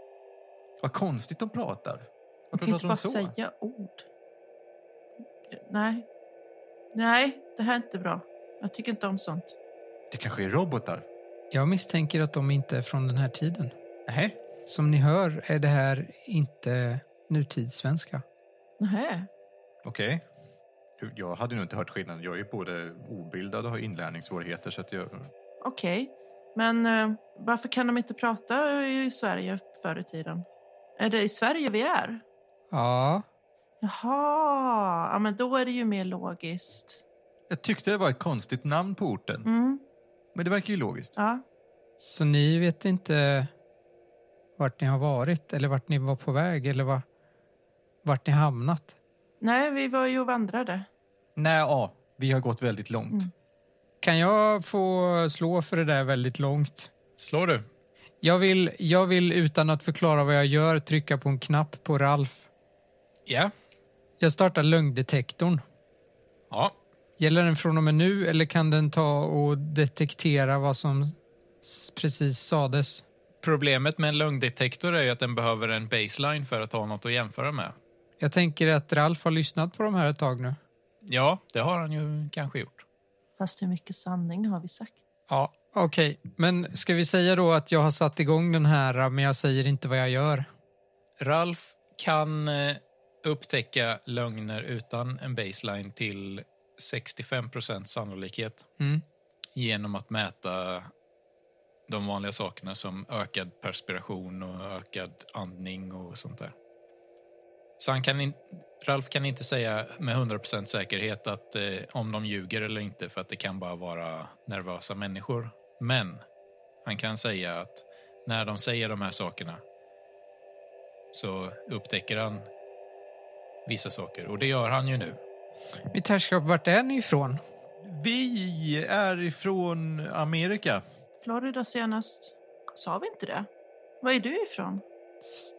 D: Vad konstigt de pratar.
C: Man
D: Varför
C: kan inte
D: pratar
C: bara
D: de så?
C: säga ord. Nej. Nej, det här är inte bra. Jag tycker inte om sånt.
D: Det kanske är robotar?
B: Jag misstänker att de inte är från den här tiden.
D: Nej.
B: Som ni hör är det här inte nutidssvenska.
C: Nej.
D: Okej. Du, Jag hade nog inte hört skillnaden. Jag är ju både obildad och har inlärningssvårigheter. Så att jag...
C: Okej. Men eh, varför kan de inte prata i Sverige förr i tiden? Är det i Sverige vi är?
B: Ja,
C: Jaha. Ja, men då är det ju mer logiskt.
D: jag tyckte det var ett konstigt namn på orten.
C: Mm,
D: Men det verkar ju logiskt.
C: ja.
B: så ni vet inte vart ni har varit eller vart ni var på väg eller var, vart ni hamnat.
C: Nej, vi var ju och vandrade.
D: Nej, ja. Vi har gått väldigt långt.
C: Mm.
B: Kan jag få slå för det där väldigt långt?
A: Slår du?
B: Jag vill, jag vill utan att förklara vad jag gör trycka på en knapp på Ralf.
A: Ja.
B: Jag startar lögndetektorn.
A: Ja.
B: Gäller den från och med nu eller kan den ta och detektera vad som s- precis sades?
A: Problemet med en lögndetektor är ju att den behöver en baseline för att ha något att jämföra med.
B: Jag tänker att Ralf har lyssnat på de här ett tag nu.
A: Ja, det har han ju kanske gjort.
C: Fast hur mycket sanning har vi sagt?
B: Ja, okej. Men ska vi säga då att jag har satt igång den här men jag säger inte vad jag gör?
A: Ralf kan eh, upptäcka lögner utan en baseline till 65 sannolikhet
B: Mm.
A: genom att mäta de vanliga sakerna som ökad perspiration och ökad andning och sånt där. Så han kan in, Ralf kan inte säga med 100 säkerhet att eh, om de ljuger eller inte för att det kan bara vara nervösa människor. Men han kan säga att när de säger de här sakerna så upptäcker han vissa saker och det gör han ju nu.
B: Mitt herrskap, vart är ni ifrån?
D: Vi är ifrån Amerika.
C: Florida senast. Sa vi inte det? Var är du ifrån?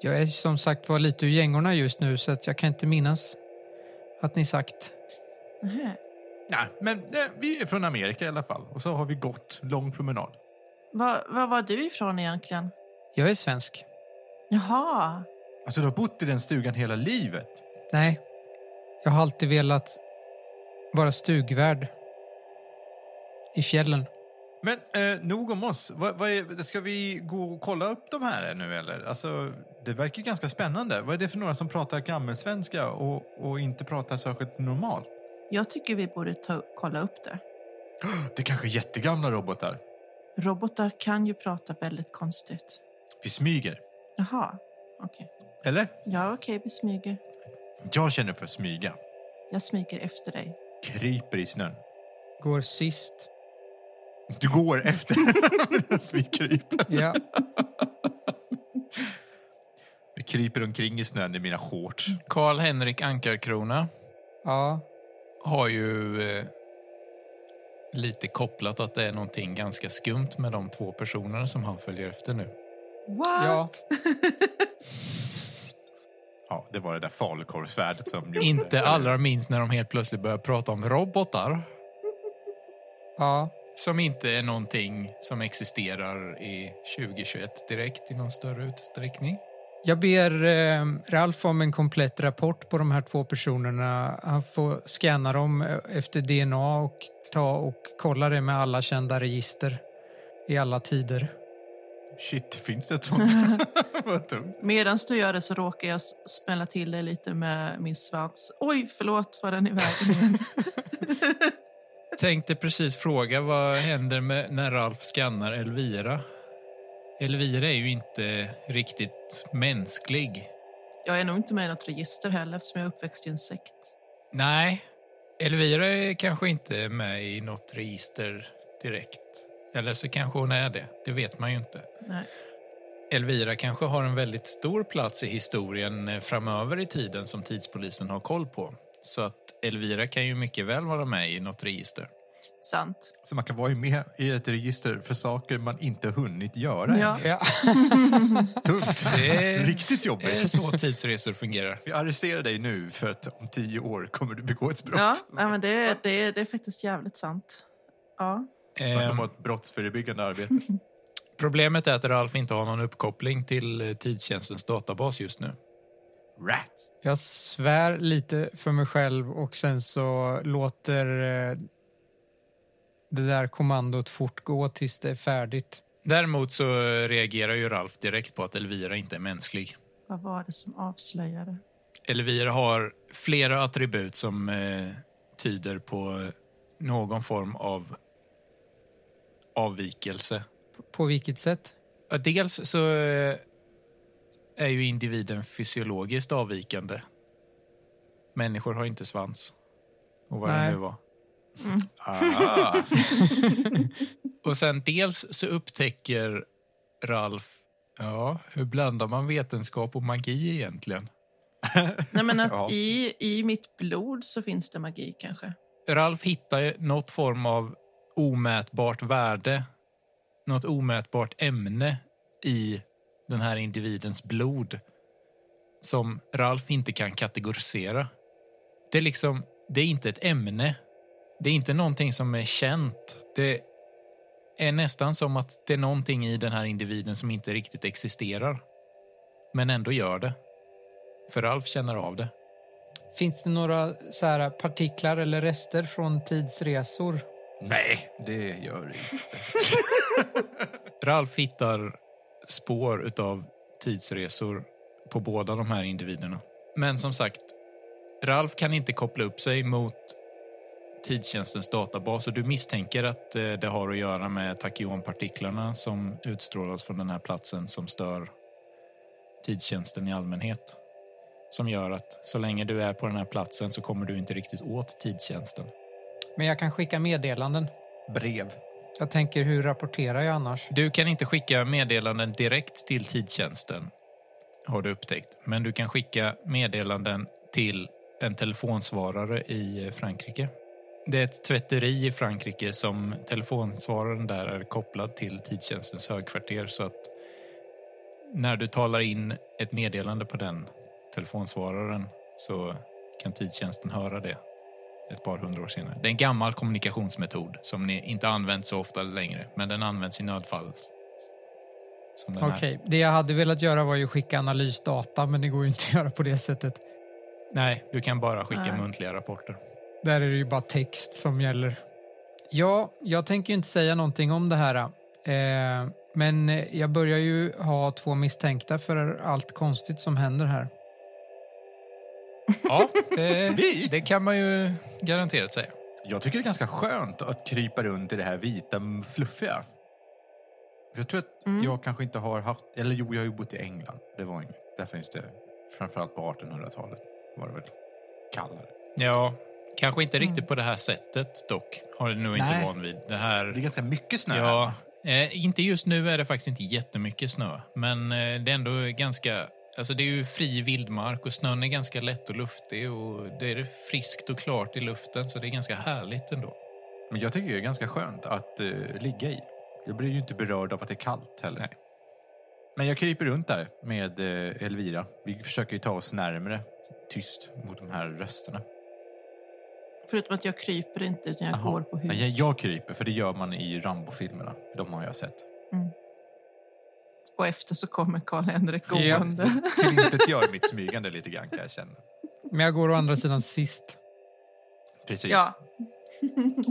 B: Jag är som sagt var lite ur gängorna just nu så att jag kan inte minnas att ni sagt.
C: Nähä.
D: Nej, men nej, vi är från Amerika i alla fall. Och så har vi gått lång promenad.
C: Var, var var du ifrån egentligen?
B: Jag är svensk.
C: Jaha.
D: Alltså, du har bott i den stugan hela livet?
B: Nej, jag har alltid velat vara stugvärd i fjällen.
D: Men eh, nog om oss. Vad- vad är, ska vi gå och kolla upp de här nu eller? Alltså, det verkar ju ganska spännande. Vad är det för några som pratar gammelsvenska och, och inte pratar särskilt normalt?
C: Jag tycker vi borde ta, kolla upp det.
D: Det kanske är jättegamla robotar.
C: Robotar kan ju prata väldigt konstigt.
D: Vi smyger.
C: Jaha. Okej.
D: Eller?
C: Ja, okej, vi smyger.
D: Jag känner för att smyga.
C: Jag smyger efter dig.
D: Kryper i snön.
B: Går sist.
D: Du går efter medan vi kryper.
B: Ja.
D: Jag kryper omkring i snön i mina shorts.
A: Karl-Henrik Ankarkrona,
B: ja.
A: har ju eh, lite kopplat att det är någonting ganska skumt med de två personerna som han följer efter nu.
C: What?
D: Ja, det var det där falukorvsvärdet som gjorde
A: Inte allra minst när de helt plötsligt börjar prata om robotar
B: Ja,
A: som inte är någonting som existerar i 2021 direkt i någon större utsträckning.
B: Jag ber eh, Ralf om en komplett rapport på de här två personerna. Han får scanna dem eh, efter DNA och ta och kolla det med alla kända register i alla tider.
D: Shit, finns det ett sånt? Vad tungt.
C: Medan du gör det så råkar jag s- smälla till dig lite med min svans. Oj, förlåt för den i vägen.
A: Tänkte precis fråga vad händer med när Ralf skannar Elvira? Elvira är ju inte riktigt mänsklig.
C: jag är nog inte med i något register heller eftersom jag är uppväxt i en sekt.
A: Nej, Elvira är kanske inte med i något register direkt. Eller så kanske hon är det, det vet man ju inte.
C: Nej.
A: Elvira kanske har en väldigt stor plats i historien eh, framöver i tiden som tidspolisen har koll på. Så att Elvira kan ju mycket väl vara med i något register.
C: Sant.
D: Så man kan vara ju med i ett register för saker man inte hunnit göra.
C: Ja.
B: Ja.
D: Tungt.
A: Det är-
D: Riktigt
A: Det
D: jobbigt.
A: är så tidsresor fungerar.
D: Vi arresterar dig nu för att om tio år kommer du begå ett brott.
C: Ja, nej, men det, det, det är faktiskt jävligt sant. Ja.
D: Så att de
A: Ehm,
D: har ett brottsförebyggande arbete.
A: Problemet är att Ralf inte har någon uppkoppling till eh, tidstjänstens databas just nu.
D: Rats.
B: Jag svär lite för mig själv och sen så låter eh, det där kommandot fortgå tills det är färdigt.
A: Däremot så eh, reagerar ju Ralf direkt på att Elvira inte är mänsklig.
C: Vad var det som avslöjade?
A: Elvira har flera attribut som eh, tyder på någon form av avvikelse.
B: På vilket sätt?
A: Ja, Dels så eh, är ju individen fysiologiskt avvikande. Människor har inte svans. Och vad det
B: Nej.
A: nu var.
D: Ah.
A: Och sen dels så upptäcker Ralf, ja, hur blandar man vetenskap och magi egentligen?
C: Nej, men att
D: Ja.
C: i, i mitt blod så finns det magi kanske.
A: Ralf hittar ju något form av omätbart värde, något omätbart ämne i den här individens blod som Ralf inte kan kategorisera. Det är liksom, det är inte ett ämne. Det är inte någonting som är känt. Det är nästan som att det är någonting i den här individen som inte riktigt existerar. Men ändå gör det. För Ralf känner av det.
B: Finns det några så här partiklar eller rester från tidsresor?
D: Nej, det gör det inte.
A: Ralf hittar spår utav tidsresor på båda de här individerna. Men som sagt, Ralf kan inte koppla upp sig mot tidstjänstens databas och du misstänker att eh, det har att göra med tachyonpartiklarna som utstrålas från den här platsen som stör tidstjänsten i allmänhet. Som gör att så länge du är på den här platsen så kommer du inte riktigt åt tidstjänsten.
B: Men jag kan skicka meddelanden.
D: Brev.
B: Jag tänker, hur rapporterar jag annars?
A: Du kan inte skicka meddelanden direkt till tidtjänsten, har du upptäckt. Men du kan skicka meddelanden till en telefonsvarare i Frankrike. Det är ett tvätteri i Frankrike som telefonsvararen där är kopplad till tidtjänstens högkvarter. Så att när du talar in ett meddelande på den telefonsvararen så kan tidtjänsten höra det ett par hundra år senare. Det är en gammal kommunikationsmetod som ni inte använt så ofta längre, men den används i nödfall. Som den här.
B: Okej, det jag hade velat göra var ju skicka analysdata, men det går ju inte att göra på det sättet.
A: Nej, du kan bara skicka
C: Nej.
A: muntliga rapporter.
B: Där är det ju bara text som gäller. Ja, jag tänker ju inte säga någonting om det här. Eh, men jag börjar ju ha två misstänkta för allt konstigt som händer här.
A: Ja, det,
D: Vi?
A: det kan man ju garanterat säga.
D: Jag tycker det är ganska skönt att krypa runt i det här vita, m- fluffiga. Jag tror att jag kanske inte har haft... Eller jo, jag har ju bott i England. Det var inget. Där finns det... Framförallt på 1800-talet var det väl kallare.
A: Ja, kanske inte riktigt på det här sättet dock. Har du nog inte
D: Nej.
A: van vid. Det här...
D: Det är ganska mycket snö.
A: Ja, eh, inte just nu är det faktiskt inte jättemycket snö, men eh, det är ändå ganska Alltså det är ju fri vildmark och snön är ganska lätt och luftig och det är friskt och klart i luften så det är ganska härligt ändå.
D: Men jag tycker det är ganska skönt att eh, ligga i. Jag blir ju inte berörd av att det är kallt heller.
A: Nej.
D: Men jag kryper runt där med eh, Elvira. Vi försöker ju ta oss närmre, tyst, mot de här rösterna.
C: Förutom att jag kryper inte, utan jag
D: Jaha.
C: går på
D: Men
C: huvudet.
D: jag, jag kryper, för det gör man i Rambo-filmerna. De har jag sett.
C: Och efter så kommer Karl-Henrik gående.
D: Till intet gör mitt smygande lite grann kan jag känna.
B: Men jag går å andra sidan sist.
D: Precis.
C: Ja.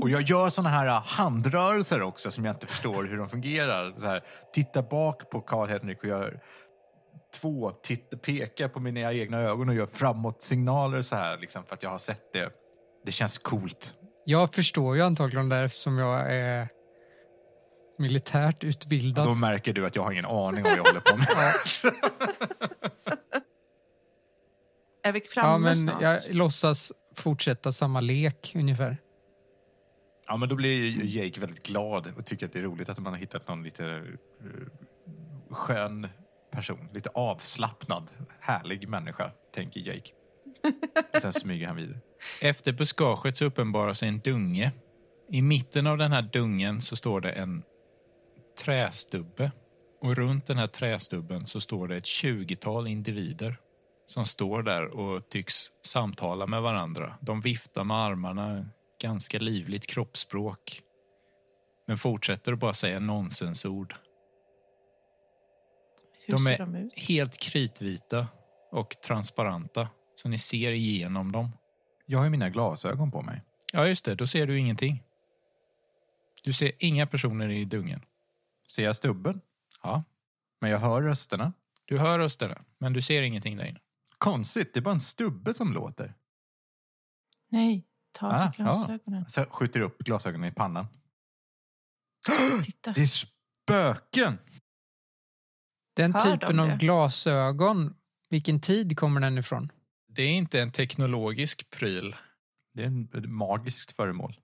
D: Och jag gör såna här ah, handrörelser också som jag inte förstår hur de fungerar. Så här, titta bak på Karl-Henrik och gör två, titt, pekar på mina egna ögon och gör framåt-signaler så här liksom, för att jag har sett det. Det känns coolt.
B: Jag förstår ju antagligen det eftersom jag är militärt utbildad.
D: Då märker du att jag har ingen aning om vad jag håller på med.
C: Är vi framme
B: ja, men
C: snart?
B: jag låtsas fortsätta samma lek ungefär.
D: Ja, men då blir ju Jake väldigt glad och tycker att det är roligt att man har hittat någon lite eh, skön person. Lite avslappnad, härlig människa, tänker Jake. Sen smyger han vidare.
A: Efter buskaget så uppenbarar sig en dunge. I mitten av den här dungen så står det en trästubbe. Och runt den här trästubben så står det ett tjugotal individer som står där och tycks samtala med varandra. De viftar med armarna, ganska livligt kroppsspråk. Men fortsätter att bara säga nonsensord.
C: Hur
A: de
C: ser
A: är-
C: de ut?
A: Helt kritvita och transparenta, så ni ser igenom dem.
D: Jag har ju mina glasögon på mig.
A: Ja, just det. Då ser du ingenting. Du ser inga personer i dungen.
D: Ser jag stubben?
A: Ja,
D: Men jag hör rösterna.
A: du hör rösterna, men du ser ingenting där inne.
D: Konstigt, det är bara en stubbe som låter.
C: Nej, ta
D: Ah,
C: ah, glasögonen.
D: Så jag skjuter upp glasögonen i pannan.
C: Titta.
D: Det är spöken!
B: Den
C: Hör de
B: typen av
C: det?
B: glasögon, vilken tid kommer den ifrån?
A: Det är inte en teknologisk pryl.
D: Det är en- ett magiskt föremål.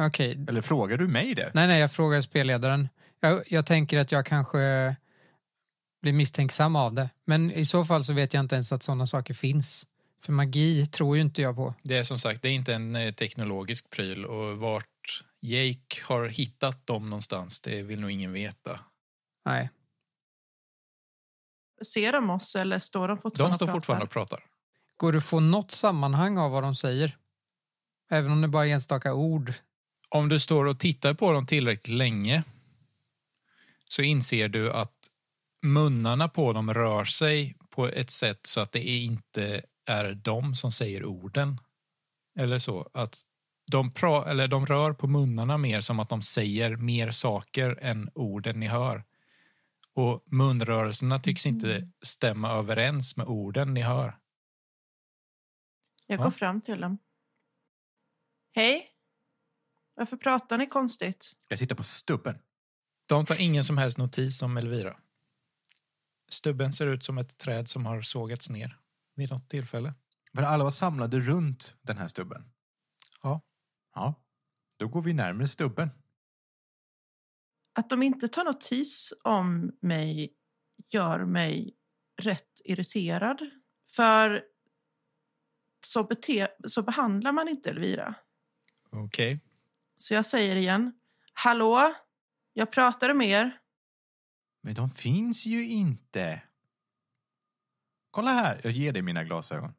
B: Okej.
D: Eller frågar du mig det?
B: Nej, nej, jag frågar spelledaren. Jag, jag tänker att jag kanske blir misstänksam av det. Men i så fall så vet jag inte ens att sådana saker finns. För magi tror ju inte jag på.
A: Det är som sagt, det är inte en eh, teknologisk pryl och vart Jake har hittat dem någonstans, det vill nog ingen veta.
B: Nej.
C: Ser de oss eller står de fortfarande
A: De står
C: och pratar?
A: fortfarande och pratar.
B: Går du få något sammanhang av vad de säger? Även om det bara är enstaka ord.
A: Om du står och tittar på dem tillräckligt länge så inser du att munnarna på dem rör sig på ett sätt så att det inte är de som säger orden. Eller så. Att de, pra- eller de rör på munnarna mer som att de säger mer saker än orden ni hör. Och munrörelserna tycks inte stämma överens med orden ni hör.
C: Jag
A: Va?
C: går fram till dem. Hej! Varför pratar ni konstigt?
D: Jag tittar på stubben.
A: De tar ingen som helst notis om Elvira. Stubben ser ut som ett träd som har sågats ner vid något tillfälle.
D: För alla var samlade runt den här stubben.
A: Ja.
D: Ja. Då går vi närmare stubben.
C: Att de inte tar notis om mig gör mig rätt irriterad. För så, bete- så behandlar man inte Elvira.
A: Okej.
C: Så jag säger igen. Hallå? Jag pratade med er.
D: Men de finns ju inte. Kolla här, jag ger dig mina glasögon.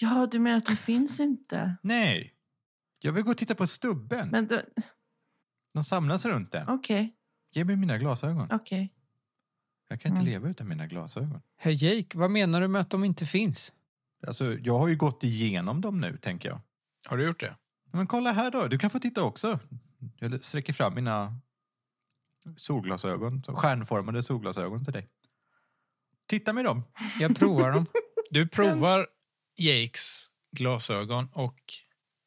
C: Ja, du menar att de finns inte?
D: Nej, jag vill gå och titta på stubben.
C: Men de-
D: De samlas runt den.
C: okej,
D: Ge mig mina glasögon.
C: okej.
D: Jag kan inte
C: Mm.
D: leva utan mina glasögon.
B: Herr Jake, vad menar du med att de inte finns?
D: Alltså, jag har ju gått igenom dem nu, tänker jag.
A: Har du gjort det?
D: Men kolla här då, du kan få titta också. Jag sträcker fram mina solglasögon, så stjärnformade solglasögon till dig. Titta med dem.
B: Jag provar dem.
A: Du provar Jakes glasögon och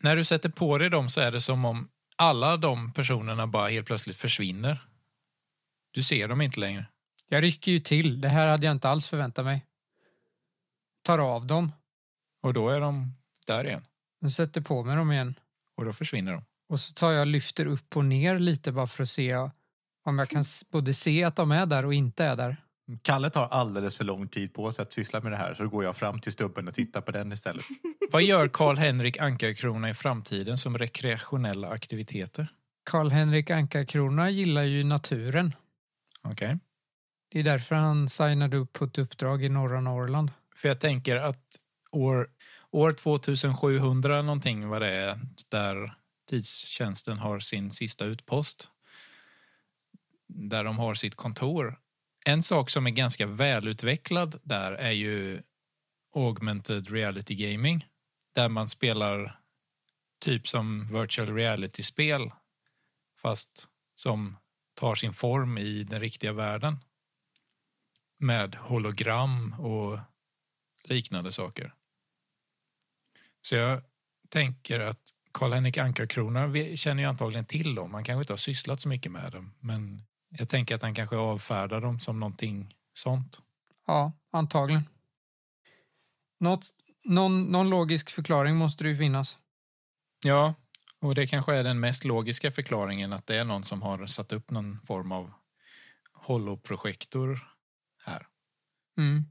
A: när du sätter på dig dem så är det som om alla de personerna bara helt plötsligt försvinner. Du ser dem inte längre.
B: Jag rycker ju till. Det här hade jag inte alls förväntat mig. Tar av dem
A: Och då är de där igen.
B: och sätter på mig dem igen.
A: Och då försvinner de.
B: Och så tar jag och lyfter upp och ner lite bara för att se om jag kan s- både se att de är där och inte är där.
D: Kalle tar alldeles för lång tid på sig att syssla med det här så då går jag fram till stubben och tittar på den istället.
A: Vad gör Karl-Henrik Ankarkrona i framtiden som rekreationella aktiviteter?
B: Karl-Henrik Ankarkrona gillar ju naturen.
A: Okej.
B: Det är därför han signade upp på ett uppdrag i norra Norrland.
A: För jag tänker att år, år 2700 någonting vad det är, där tidstjänsten har sin sista utpost, där de har sitt kontor. En sak som är ganska välutvecklad där är ju augmented reality gaming, där man spelar typ som virtual reality-spel, fast som tar sin form i den riktiga världen med hologram och liknande saker. Så jag tänker att Karl-Henrik Ankarkrona vi- känner ju antagligen till dem. Han kanske inte har sysslat så mycket med dem, men jag tänker att han kanske avfärdar dem som någonting sånt.
B: Ja, antagligen. Något, någon, någon logisk förklaring måste det ju finnas.
A: Ja, och det kanske är den mest logiska förklaringen att det är någon som har satt upp någon form av holoprojektor här.
B: Mm.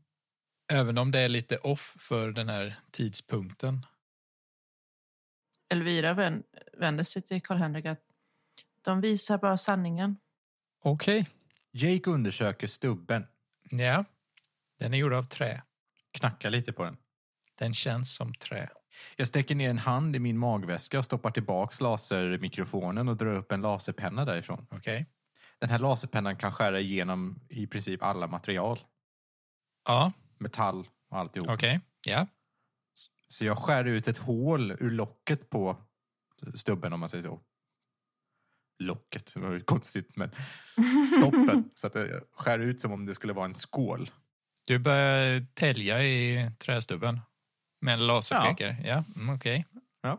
A: Även om det är lite off för den här tidspunkten.
C: Elvira vän- vänder sig till Karl-Henrik att de visar bara sanningen.
B: Okej.
D: Jake undersöker stubben,
A: Ja, den är gjord av trä.
D: knackar lite på den.
A: Den känns som trä.
D: Jag sträcker ner en hand i min magväska och stoppar tillbaks lasermikrofonen och drar upp en laserpenna därifrån.
A: Okej.
D: Den här laserpennan kan skära igenom i princip alla material.
A: Ja,
D: Metall och alltihop.
A: okej. Ja.
D: Så jag skär ut ett hål ur locket på stubben om man säger så. Locket, det var ju konstigt men toppen. Så att jag skär ut som om det skulle vara en skål.
A: Du börjar tälja i trästubben med en laserpekare. Ja, mm, okej.
D: Ja.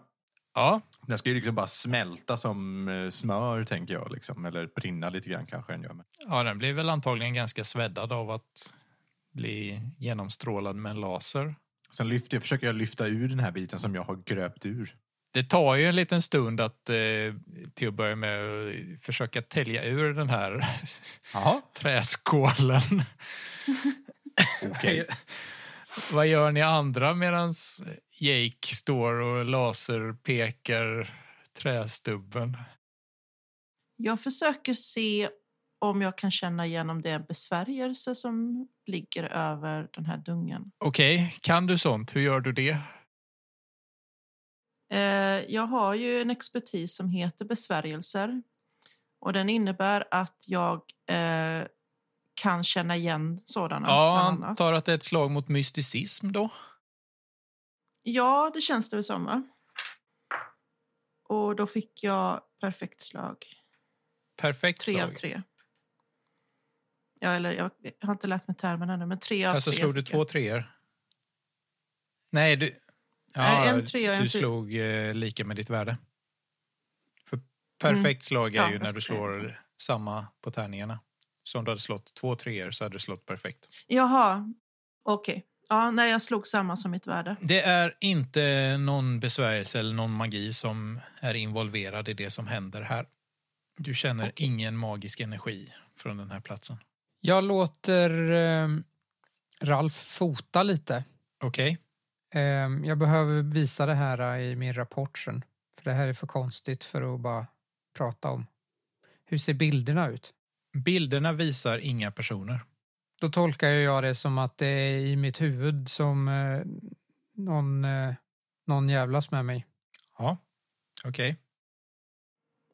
A: Ja,
D: Den ska ju liksom bara smälta som eh, smör tänker jag liksom. Eller brinna lite grann kanske den gör. Men
A: ja, den blir väl antagligen ganska sväddad av att bli genomstrålad med en laser.
D: Sen lyfter, jag- försöker jag lyfta ur den här biten som jag har gröpt ur.
A: Det tar ju en liten stund att eh, till att börja med eh, försöka tälja ur den här
D: Jaha,
A: träskålen.
D: okej.
A: Vad gör ni andra medan Jake står och laserpekar trästubben?
C: Jag försöker se om jag kan känna igenom den besvärjelse som ligger över den här dungen.
A: Okej, kan du sånt? Hur gör du det?
C: Eh, Jag har ju en expertis som heter besvärjelser. Och den innebär att jag eh, kan känna igen sådana.
A: Ja,
C: bland
A: jag
C: annat.
A: antar att det är ett slag mot mysticism då.
C: Ja, det känns det väl som, va? Och då fick jag perfekt slag.
A: Perfekt
C: Tre
A: slag.
C: av tre. Ja, eller jag har inte lärt mig termen ännu, men tre av
A: Alltså
C: tre.
A: slog du
C: fick jag.
A: två treor? Nej, du...
C: Nej, en trea och en
A: Du
C: fyra.
A: slog eh, lika med ditt värde. För perfekt slag är
C: Mm. Ja,
A: ju
C: jag
A: när
C: ska
A: du
C: säga
A: slår samma på tärningarna. Så om du hade slått två treor så hade du slått perfekt.
C: Jaha, okej. Ja, nej, jag slog samma som mitt värde.
A: Det är inte någon besvärjelse eller någon magi som är involverad i det som händer här. Du känner ingen magisk energi från den här platsen.
B: Jag låter ehm, Ralf fota lite.
A: Okej?
B: Ehm, jag behöver visa det här eh, i min rapport sen. För det här är för konstigt för att bara prata om. Hur ser bilderna ut?
A: Bilderna visar inga personer.
B: Då tolkar jag det som att det är i mitt huvud som eh, någon, eh, någon jävlas med mig.
A: Ja, okej.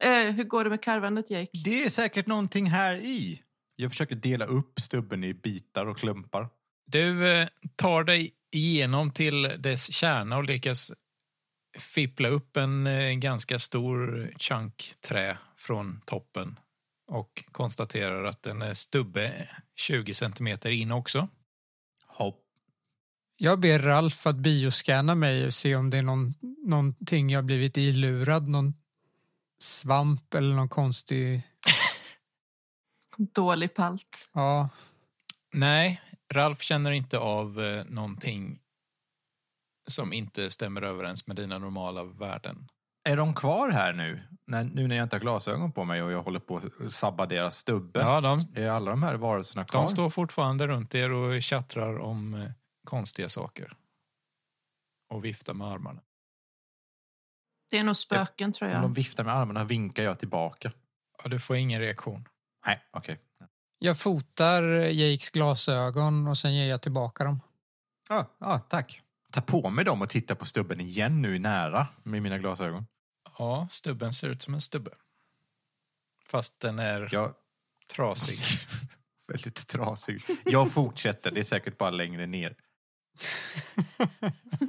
C: Eh, hur går det med karvandet, Jake?
D: Det är säkert någonting här i. Jag försöker dela upp stubben i bitar och klumpar.
A: Du eh, tar dig igenom till dess kärna och lyckas fippla upp en eh, ganska stor chunk trä från toppen och konstaterar att den är stubbe 20 centimeter in också.
D: Hopp.
B: Jag ber Ralf att bioscanna mig och se om det är någon, någonting jag blivit ilurad. Någon svamp eller någon konstig...
C: Dålig palt.
B: Ja,
A: Nej, Ralf känner inte av eh, någonting som inte stämmer överens med dina normala värden.
D: Är de kvar här nu? När, nu när jag inte har glasögon på mig och jag håller på att sabba deras stubbe.
A: Ja, de,
D: Är alla de här varelserna kvar?
A: de står fortfarande runt er och tjattrar om eh, konstiga saker. Och viftar med armarna.
C: Det är nog spöken, tror
D: Om de
C: jag.
D: viftar med armarna vinkar jag tillbaka.
A: Ja, du får ingen reaktion.
D: Nej, okej.
B: Jag fotar äh, Jakes glasögon och sen ger jag tillbaka dem.
D: Ja, ja, tack. Ta på mig dem och titta på stubben igen nu nära med mina glasögon.
A: Ja, stubben ser ut som en stubbe. Fast den är
D: Jag är
A: trasig.
D: väldigt trasig. Jag fortsätter, det är säkert bara längre ner.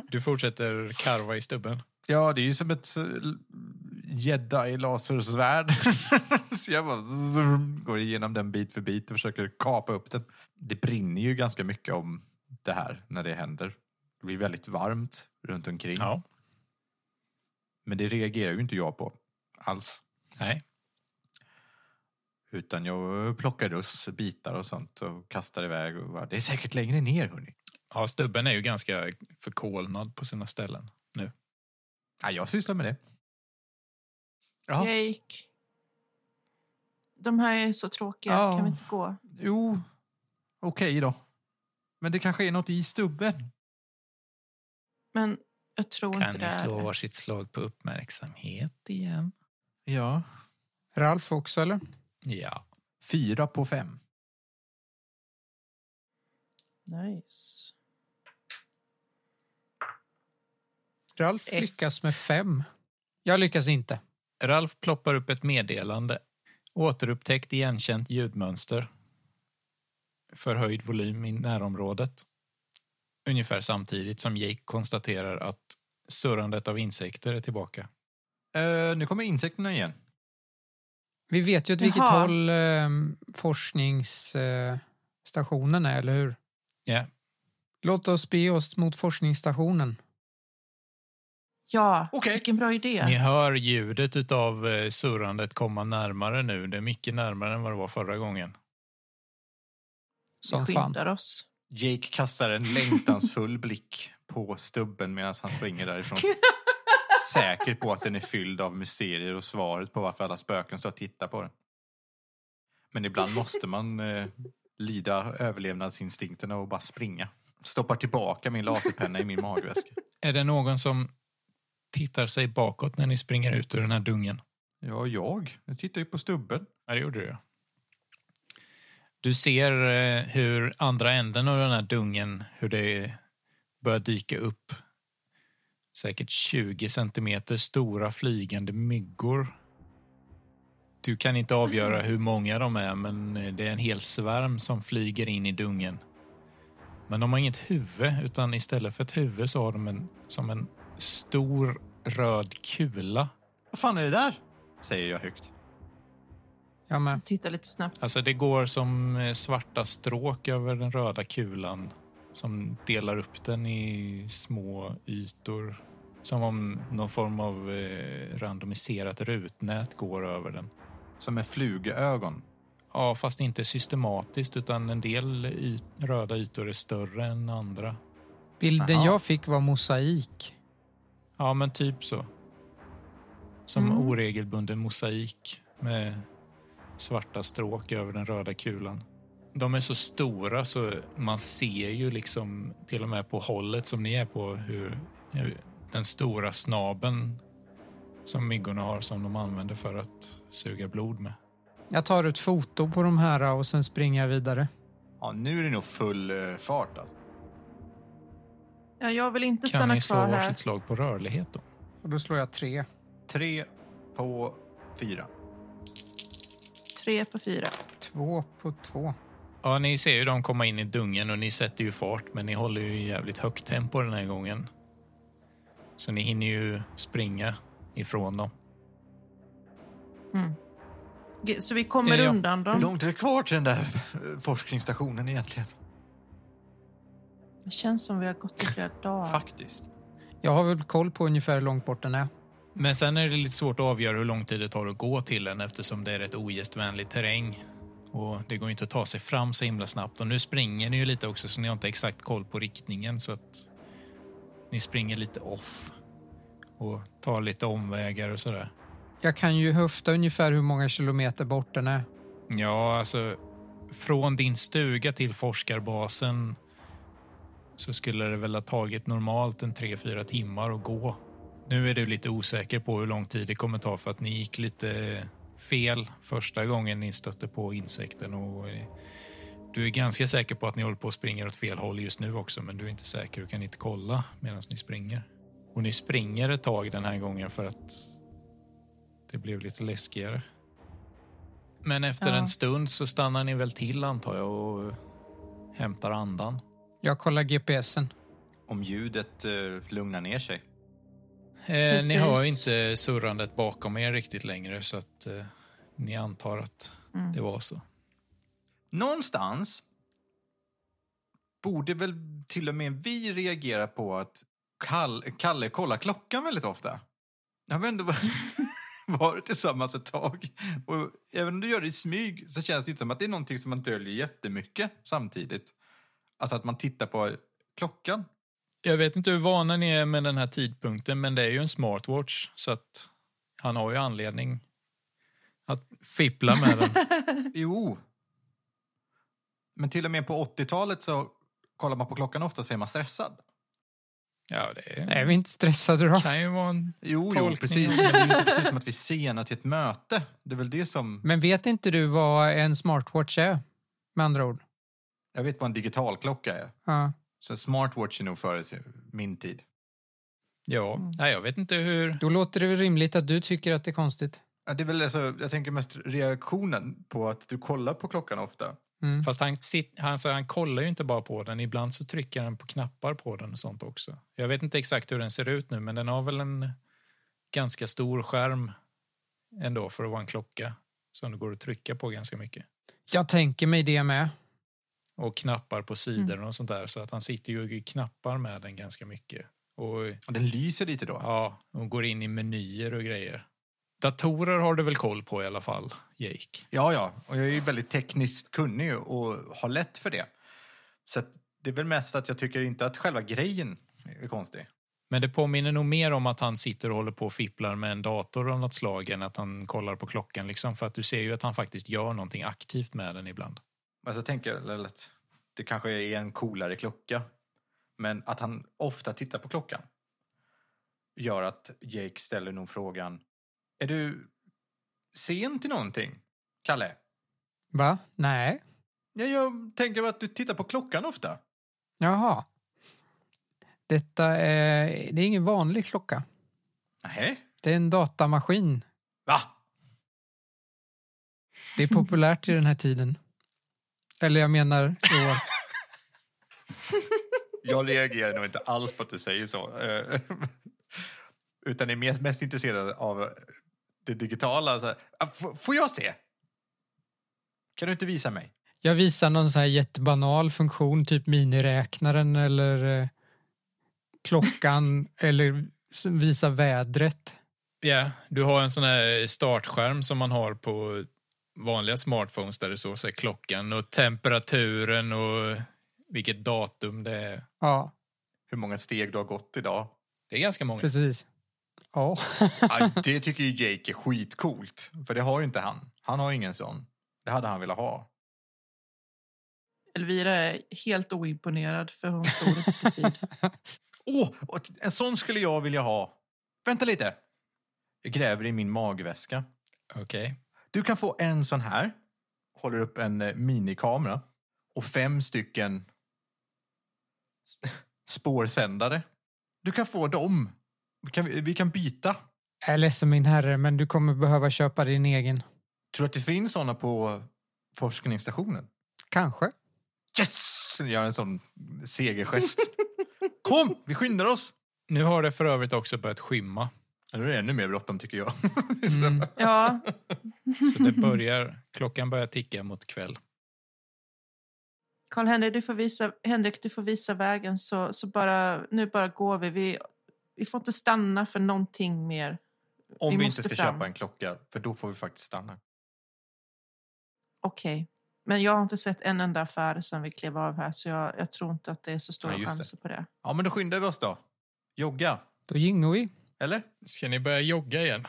A: Du fortsätter karva i stubben.
D: Ja, det är ju som ett eh, l- jedi-lasersvärd. så jag bara zoom, går igenom den bit för bit och försöker kapa upp den. Det brinner ju ganska mycket om det här när det händer. Det blir väldigt varmt runt omkring.
A: Ja.
D: Men det reagerar ju inte jag på alls.
A: Nej.
D: Utan jag plockar loss bitar och sånt och kastar iväg. Och bara, det är säkert längre ner, hörni.
A: Ja, stubben är ju ganska förkolnad på sina ställen.
D: Ja, jag sysslar med det. Ja,
C: Jake. De här är så tråkiga.
D: Ja.
C: Kan vi inte gå?
D: jo. Okej då. Men det kanske är något i stubben.
C: Men jag tror inte det är det.
A: varsitt slag på uppmärksamhet igen?
D: Ja.
B: Ralf också eller?
A: Ja.
D: Fyra på fem.
C: Nice.
B: Ralf
C: Ett.
B: lyckas med fem. Jag lyckas inte.
A: Ralf ploppar upp ett meddelande. Återupptäckt igenkänt ljudmönster. Förhöjd volym i närområdet. Ungefär samtidigt som Jake konstaterar att surrandet av insekter är tillbaka.
D: Eh, nu kommer insekterna igen.
B: Vi vet ju åt vilket
C: Jaha.
B: håll eh, forskningsstationen är, eller hur?
A: Ja.
B: Låt oss bege oss mot forskningsstationen.
C: Ja,
D: Okej.
C: vilken bra idé.
A: Ni hör ljudet av surrandet komma närmare nu. Det är mycket närmare än vad det var förra gången.
B: Som
C: vi
B: fan.
C: skyndar oss.
D: Jake kastar en längtansfull blick på stubben medan han springer därifrån. Säker på att den är fylld av mysterier och svaret på varför alla spöken står och tittar på den. Men ibland måste man eh, lyda överlevnadsinstinkterna och bara springa. Stoppar tillbaka min laserpenna i min magväska.
A: Är det någon som tittar sig bakåt när ni springer ut ur den här dungen?
D: Ja, jag. Jag tittar ju på stubben.
A: Ja, det gjorde du. Du ser eh, hur andra änden av den här dungen, hur det börjar dyka upp säkert 20 centimeter stora flygande myggor. Du kan inte avgöra hur många de är, men eh, det är en hel svärm som flyger in i dungen. Men de har inget huvud, utan istället för ett huvud så har de en, som en stor röd kula
D: Vad fan är det där? Säger jag högt.
B: Jag med.
C: Titta lite snabbt.
A: Alltså det går som eh, svarta stråk över den röda kulan som delar upp den i små ytor. Som om någon form av eh, randomiserat rutnät går över den.
D: Som med flugögon.
A: Ja, fast inte systematiskt utan en del yt- röda ytor är större än andra.
B: Bilden
D: Jaha.
B: jag fick var mosaik.
A: Ja, men typ så. Som
C: Mm.
A: oregelbunden mosaik med svarta stråk över den röda kulan. De är så stora så man ser ju liksom till och med på hållet som ni är på hur hur den stora snaben som myggorna har som de använder för att suga blod med.
B: Jag tar ett foto på de här och sen springer jag vidare.
D: Ja, nu är det nog full eh, fart alltså.
C: Ja, jag vill inte
A: Kan
C: stanna
A: ni slå
C: kvar här.
A: varsitt slag på rörlighet då?
B: Och då slår jag tre.
D: Tre på fyra.
C: Tre på fyra.
B: Två på två.
A: Ja, ni ser ju dem komma in i dungen och ni sätter ju fart, men ni håller ju jävligt högt tempo den här gången. Så ni hinner ju springa ifrån dem.
C: Ge- Så vi kommer
A: Eh, Ja, ja.
C: undan
D: Hur
C: dem.
D: långt är det kvar till den där eh, forskningsstationen egentligen?
C: Det känns som vi har gått i flera dagar.
D: Faktiskt.
B: Jag har väl koll på ungefär hur långt bort den är.
A: Men sen är det lite svårt att avgöra hur lång tid det tar att gå till den eftersom det är rätt ogästvänlig terräng. Och det går ju inte att ta sig fram så himla snabbt. Och nu springer ni ju lite också så ni har inte exakt koll på riktningen så att ni springer lite off. och tar lite omvägar och sådär.
B: Jag kan ju höfta ungefär hur många kilometer bort den är.
A: Ja, alltså från din stuga till forskarbasen så skulle det väl ha tagit normalt en 3-4 timmar att gå. Nu är du lite osäker på hur lång tid det kommer ta för att ni gick lite fel första gången ni stötte på insekten och eh, du är ganska säker på att ni håller på att springa åt fel håll just nu också men du är inte säker och kan inte kolla medan ni springer. Och ni springer ett tag den här gången för att det blev lite läskigare. Men efter
C: Ja.
A: en stund så stannar ni väl till antar jag och hämtar andan.
B: Jag kollar GPSen.
D: Om ljudet eh, lugnar ner sig.
A: Eh, ni
C: Precis.
A: hör ju inte surrandet bakom er riktigt längre så att eh, ni antar att
C: Mm.
A: det var så.
D: Någonstans borde väl till och med vi reagera på att Kall, Kalle kollar klockan väldigt ofta. Jag har ändå varit tillsammans ett tag. Och även om du gör det i smyg så känns det inte som att det är någonting som man döljer jättemycket samtidigt. Alltså att man tittar på klockan.
A: Jag vet inte hur vana ni är med den här tidpunkten men det är ju en smartwatch så att han har ju anledning att fippla med den.
D: Jo. Men till och med på 80-talet så kollar man på klockan ofta så är man stressad.
A: Ja, det är,
B: Är vi inte stressade då?
A: kan ju vara en...
D: Jo, jo
A: Tolkning.
D: precis. Men det är ju inte precis som att vi är sena till ett möte. Det är väl det som...
B: Men vet inte du vad en smartwatch är? Med andra ord.
D: Jag vet vad en digital klocka är.
B: Ja.
D: Så en smartwatch är nog före min tid.
A: Ja,
C: Mm.
A: nej, jag vet inte hur...
B: Då låter det väl rimligt att du tycker att det är konstigt.
D: Ja, Det är väl alltså, jag tänker mest reaktionen på att du kollar på klockan ofta.
B: Mm.
A: Fast han, sit- han, så han kollar ju inte bara på den. Ibland så trycker han på knappar på den och sånt också. Jag vet inte exakt hur den ser ut nu, men den har väl en ganska stor skärm ändå för att vara en klocka som det går att trycka på ganska mycket.
B: Jag tänker mig det med.
A: Och knappar på sidorna och sånt där. Så att han sitter ju i knappar med den ganska mycket. Och
D: Och den lyser lite då.
A: ja, och går in i menyer och grejer. Datorer har du väl koll på i alla fall, Jake?
D: Ja, ja. Och jag är ju väldigt tekniskt kunnig och har lätt för det. Så att det är väl mest att jag tycker inte att själva grejen är konstig.
A: Men det påminner nog mer om att han sitter och håller på och fipplar med en dator av något slag än att han kollar på klockan. Liksom, för att du ser ju att han faktiskt gör någonting aktivt med den ibland.
D: Men så tänker jag väl att det kanske är en coolare klocka. Men att han ofta tittar på klockan gör att Jake ställer nog frågan. Är du sen till någonting, Kalle?
B: Va? Nej.
D: Ja, jag tänker att du tittar på klockan ofta.
B: Jaha. Detta är... Det är ingen vanlig klocka.
D: Nej.
B: Det är en datamaskin.
D: Va?
B: Det är populärt i den här tiden. Eller jag menar i år.
D: Jag reagerar nog inte alls på att du säger så. Eh, Utan är mer- mest intresserad av det digitala. Så här, "Ah, f- får jag se? Kan du inte visa mig?
B: Jag visar någon så här jättebanal funktion, typ miniräknaren eller eh, klockan eller s- visa vädret.
A: Ja, du har en sån här startskärm som man har på vanliga smartphones där det står så här, klockan och temperaturen och vilket datum det är.
B: Ja,
D: Hur många steg du har gått idag?
A: Det är ganska många.
B: precis. Ja,
D: Aj, det tycker ju Jake är skitcoolt. För det har ju inte han. Han har ju ingen sån. Det hade han velat ha.
C: Elvira är helt oimponerad för hon tror inte på tid.
D: Åh, och t- en sån skulle jag vilja ha. Vänta lite. Jag gräver i min magväska.
A: Okej.
D: Du kan få en sån här. Håller upp en eh, minikamera. Och fem stycken s- spårsändare. Du kan få dem. Vi kan, vi kan byta.
B: jag är ledsen min herre, men du kommer behöva köpa din egen.
D: Tror du att det finns såna på forskningsstationen?
B: Kanske.
D: Yes! Jag gör en sån segergest. Kom, vi skyndar oss!
A: Nu har det för övrigt också börjat skymma.
D: Ja, Nu är det ännu mer bråttom tycker jag.
B: Mm.
C: Ja,
A: Så det börjar, klockan börjar ticka mot kväll.
C: Karl Henrik, du får visa, Henrik, du får visa vägen så, så bara, nu bara går vi. vi. Vi får inte stanna för någonting mer.
D: Om vi,
C: Vi
D: inte
C: måste
D: ska
C: fram.
D: köpa en klocka, för då får vi faktiskt stanna.
C: Okej. Men jag har inte sett en enda affär sedan vi klev av här så jag, jag tror inte att det är så stora
D: Ja, just det.
C: chanser på det.
D: Ja, men då skyndar vi oss då. Jogga.
B: Då gingo vi.
D: Eller?
A: Ska ni börja jogga igen?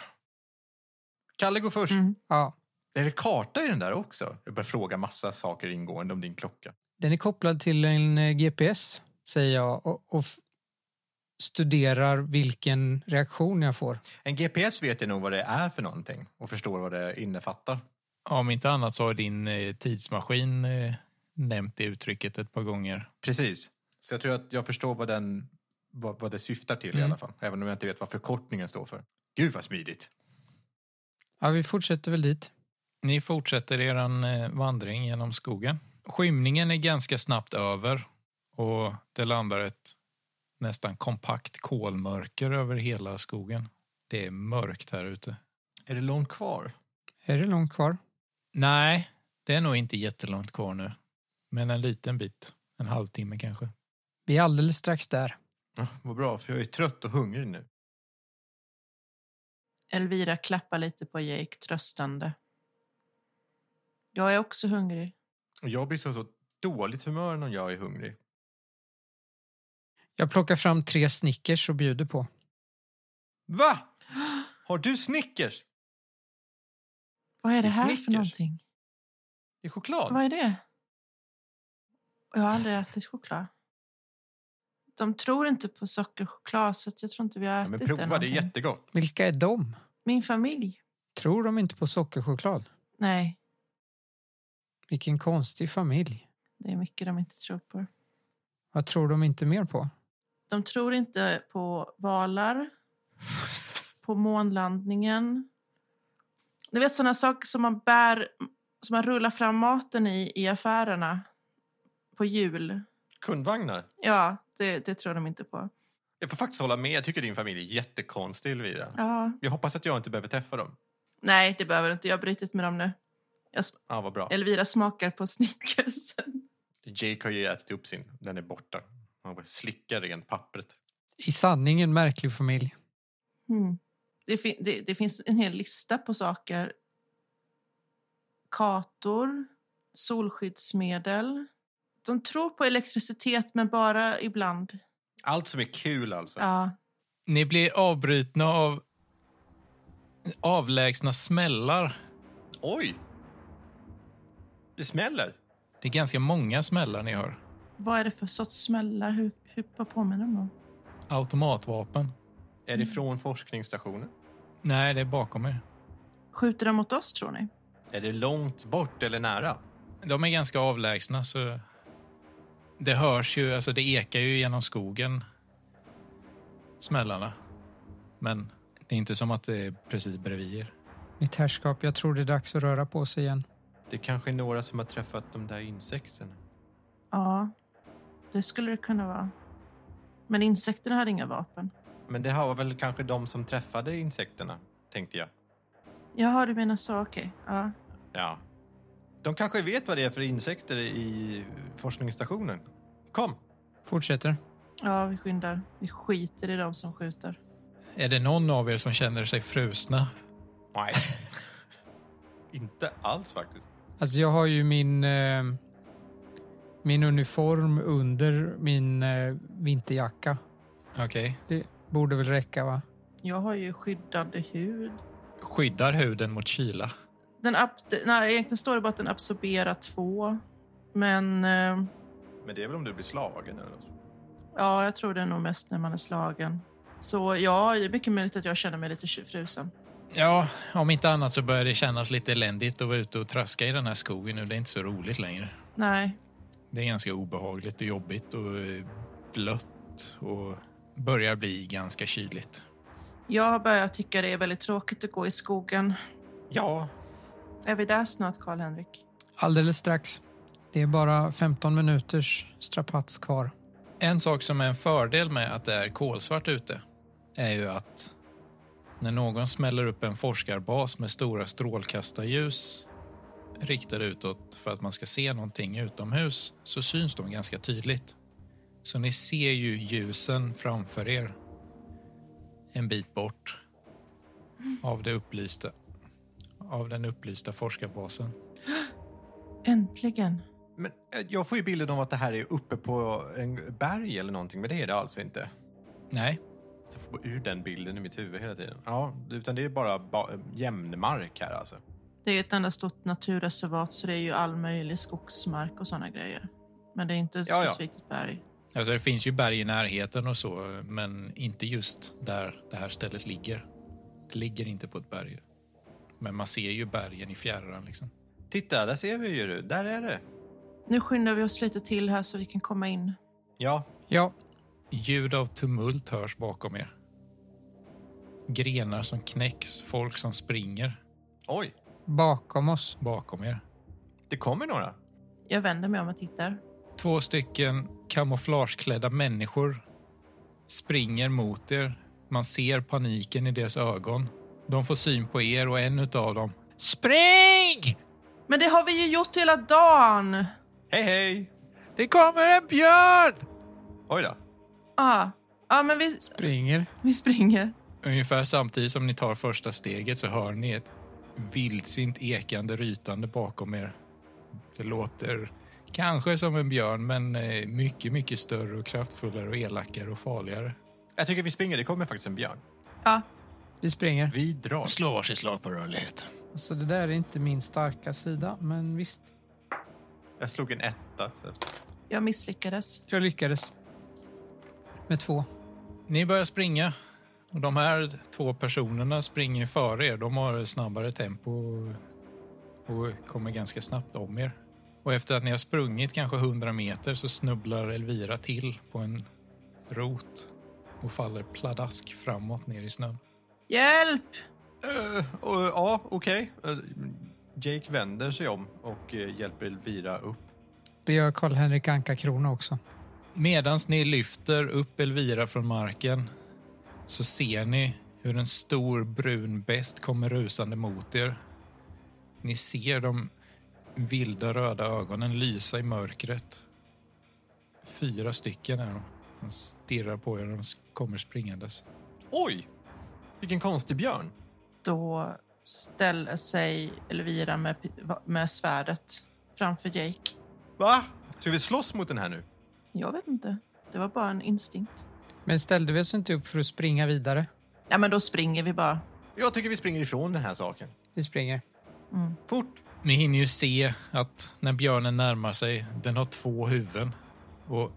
D: Kalle går först.
C: Mm.
B: Ja,
D: Är det karta i den där också? Jag börjar fråga massa saker ingående om din klocka.
B: den är kopplad till en eh, GPS, säger jag och, och f- studerar vilken reaktion jag får.
D: En GPS vet jag nog vad det är för någonting och förstår vad det innefattar.
A: Om inte annat så har din eh, tidsmaskin eh, nämnt det uttrycket ett par gånger.
D: Precis. Så jag tror att jag förstår vad, den, vad, vad det syftar till i
A: Mm.
D: alla fall. Även om jag inte vet vad förkortningen står för. Gud vad smidigt.
B: Ja, vi fortsätter väl dit.
A: Ni fortsätter er eh, vandring genom skogen. Skymningen är ganska snabbt över och det landar ett nästan kompakt kolmörker över hela skogen. Det är mörkt här ute.
D: Är det långt kvar?
B: Är det långt kvar?
A: Nej, det är nog inte jättelångt kvar nu. Men en liten bit. En halvtimme kanske.
B: Vi är alldeles strax där.
D: Ja, vad bra, för jag är trött och hungrig nu.
C: Elvira klappar lite på Jake tröstande. Jag är också hungrig.
D: Och jag blir så, så dåligt humör när jag är hungrig.
B: Jag plockar fram tre Snickers och bjuder på.
D: Va? Har du Snickers?
C: Vad är det
D: Det är
C: här för
D: Snickers.
C: någonting?
D: I choklad?
C: Vad är det? Jag har aldrig ätit choklad. De tror inte på sockerchoklad så att jag tror inte vi har
D: Ja,
C: ätit
D: men
C: det
D: prova, det är
C: någonting.
D: jättegott.
B: Vilka är de?
C: Min familj?
B: Tror de inte på sockerchoklad?
C: Nej,
B: Vilken konstig familj.
C: det är mycket de inte tror på.
B: Vad tror de inte mer på?
C: De tror inte på valar, på månlandningen. Ni vet såna saker som man bär, som man rullar fram maten i, i affärerna på jul.
D: Kundvagnar.
C: Ja, det, det tror de inte på.
D: Jag får faktiskt hålla med. Jag tycker din familj är jättekonstig, Elvira.
C: Ja.
D: Jag hoppas att jag inte behöver träffa dem.
C: Nej, det behöver du inte. Jag har brutit med dem nu. Jag, sm-
D: Ja, vad bra.
C: Elvira smakar på snickersen.
D: Jake har ju ätit upp sin. Den är borta. Han bara slickar rent pappret.
B: I sanning en märklig familj.
C: Mm. Det, fin- det, det finns en hel lista på saker. Kator, solskyddsmedel. De tror på elektricitet, men bara ibland.
D: Allt som är kul, alltså.
C: Ja.
A: Ni blir avbrutna av avlägsna smällar.
D: Oj! Det smäller.
A: Det är ganska många smällar ni hör.
C: Vad är det för sorts smällar? Hur, hur, vad påminner de om?
A: Automatvapen.
D: Är det från forskningsstationen?
A: Nej, det är bakom er.
C: Skjuter de mot oss, tror ni?
D: Är det långt bort eller nära?
A: De är ganska avlägsna, så det hörs ju, alltså det ekar ju genom skogen, smällarna. Men det är inte som att det är precis bredvid er.
B: Mitt herrskap, jag tror det är dags att röra på sig igen.
D: Det kanske är några som har träffat de där insekterna.
C: Ja, det skulle det kunna vara. Men insekterna hade inga vapen.
D: Men det här var väl kanske de som träffade insekterna, tänkte jag.
C: Jaha, du menar så. Okej. Ja.
D: Ja. De kanske vet vad det är för insekter i forskningsstationen. Kom!
B: Fortsätter.
C: ja, vi skyndar. Vi skiter i dem som skjuter.
A: Är det någon av er som känner sig frusna?
D: Nej. Inte alls faktiskt.
B: Alltså jag har ju min, eh, min uniform under min eh, vinterjacka.
A: Okej.
B: Det borde väl räcka va?
C: Jag har ju skyddande hud.
A: Skyddar huden mot kyla.
C: Den ab- de- nej, egentligen står det bara att den absorberar två. Men eh,
D: Men det är väl om du blir slagen eller något.
C: ja, jag tror det är nog mest när man är slagen. Så ja, det är mycket möjligt att jag känner mig lite tju- frusen.
A: Ja, om inte annat så börjar det kännas lite eländigt att vara ute och traska i den här skogen nu. Det är inte så roligt längre.
C: Nej,
A: Det är ganska obehagligt och jobbigt och eh, blött och börjar bli ganska kyligt.
C: jag har börjat tycka det är väldigt tråkigt att gå i skogen.
D: Ja.
C: Är vi där snart, Karl-Henrik?
B: Alldeles strax. Det är bara 15 minuters strapats kvar.
A: En sak som är en fördel med att det är kolsvart ute är ju att när någon smäller upp en forskarbas med stora strålkastarljus riktade utåt för att man ska se någonting utomhus så syns de ganska tydligt. Så ni ser ju ljusen framför er en bit bort av, det upplysta, av den upplysta forskarbasen.
C: Äntligen!
D: Men eh, jag får ju bilden av att det här är uppe på en berg eller någonting, men det är det alltså inte.
A: Nej,
D: Så jag får ur den bilden i mitt huvud hela tiden. Ja, utan det är bara ba jämn mark här alltså.
C: Det är ju ett enda stort naturreservat så det är ju all möjlig skogsmark och sådana grejer. Men det är inte
D: ja.
C: specifikt ett berg.
A: Alltså det finns ju berg i närheten och så, men inte just där det här stället ligger. Det ligger inte på ett berg. Men man ser ju bergen i fjärran. Liksom.
D: Titta, där ser vi ju du. Där är det.
C: Nu skyndar vi oss lite till här så vi kan komma in.
D: Ja,
B: Ja,
A: Ljud av tumult hörs bakom er. Grenar som knäcks, folk som springer
D: oj.
B: bakom oss.
A: bakom er.
D: Det kommer några.
C: Jag vänder mig om och tittar.
A: Två stycken kamouflageklädda människor springer mot er. Man ser paniken i deras ögon. De får syn på er och en utav dem
E: Spring!
C: Men det har vi ju gjort hela dagen!
D: Hej, hej!
E: Det kommer en björn!
D: Oj då.
C: Ja, ja men vi,
B: Springer.
C: vi springer.
A: Ungefär samtidigt som ni tar första steget så hör ni ett vildsint ekande rytande bakom er. Det låter kanske som en björn, men eh, mycket, mycket större och kraftfullare och elakare och farligare.
D: Jag tycker vi springer. Det kommer faktiskt en björn.
C: Ja,
B: Vi springer.
D: Vi drar.
A: Slå varsitt slag på rörlighet.
B: Så det där är inte min starka sida, men visst.
D: Jag slog en etta.
C: jag misslyckades.
B: Jag lyckades. Med två.
A: Ni börjar springa. Och de här två personerna springer före er. De har snabbare tempo och kommer ganska snabbt om er. Och efter att ni har sprungit kanske 100 meter så snubblar Elvira till på en rot och faller pladask framåt ner i snön.
C: Hjälp!
D: Eh, och, ja, okej. Eh, Jake vänder sig om och eh, hjälper Elvira upp.
B: Det gör Karl-Henrik Anka Krona också.
A: Medan ni lyfter upp Elvira från marken så ser ni hur en stor brun bäst kommer rusande mot er. Ni ser de vilda röda ögonen lysa i mörkret. Fyra stycken är de. De stirrar på er och de kommer springandes.
D: Oj! Vilken konstig björn.
C: Då ställer sig Elvira med, med svärdet framför Jake.
D: Va? Ska vi slåss mot den här nu?
C: Jag vet inte. Det var bara en instinkt.
B: Men ställde vi oss inte upp för att springa vidare?
C: Ja, men då springer vi bara.
D: Jag tycker vi springer ifrån den här saken.
B: Vi springer.
D: Fort!
A: Ni hinner ju se att när björnen närmar sig, den har två huvuden. Och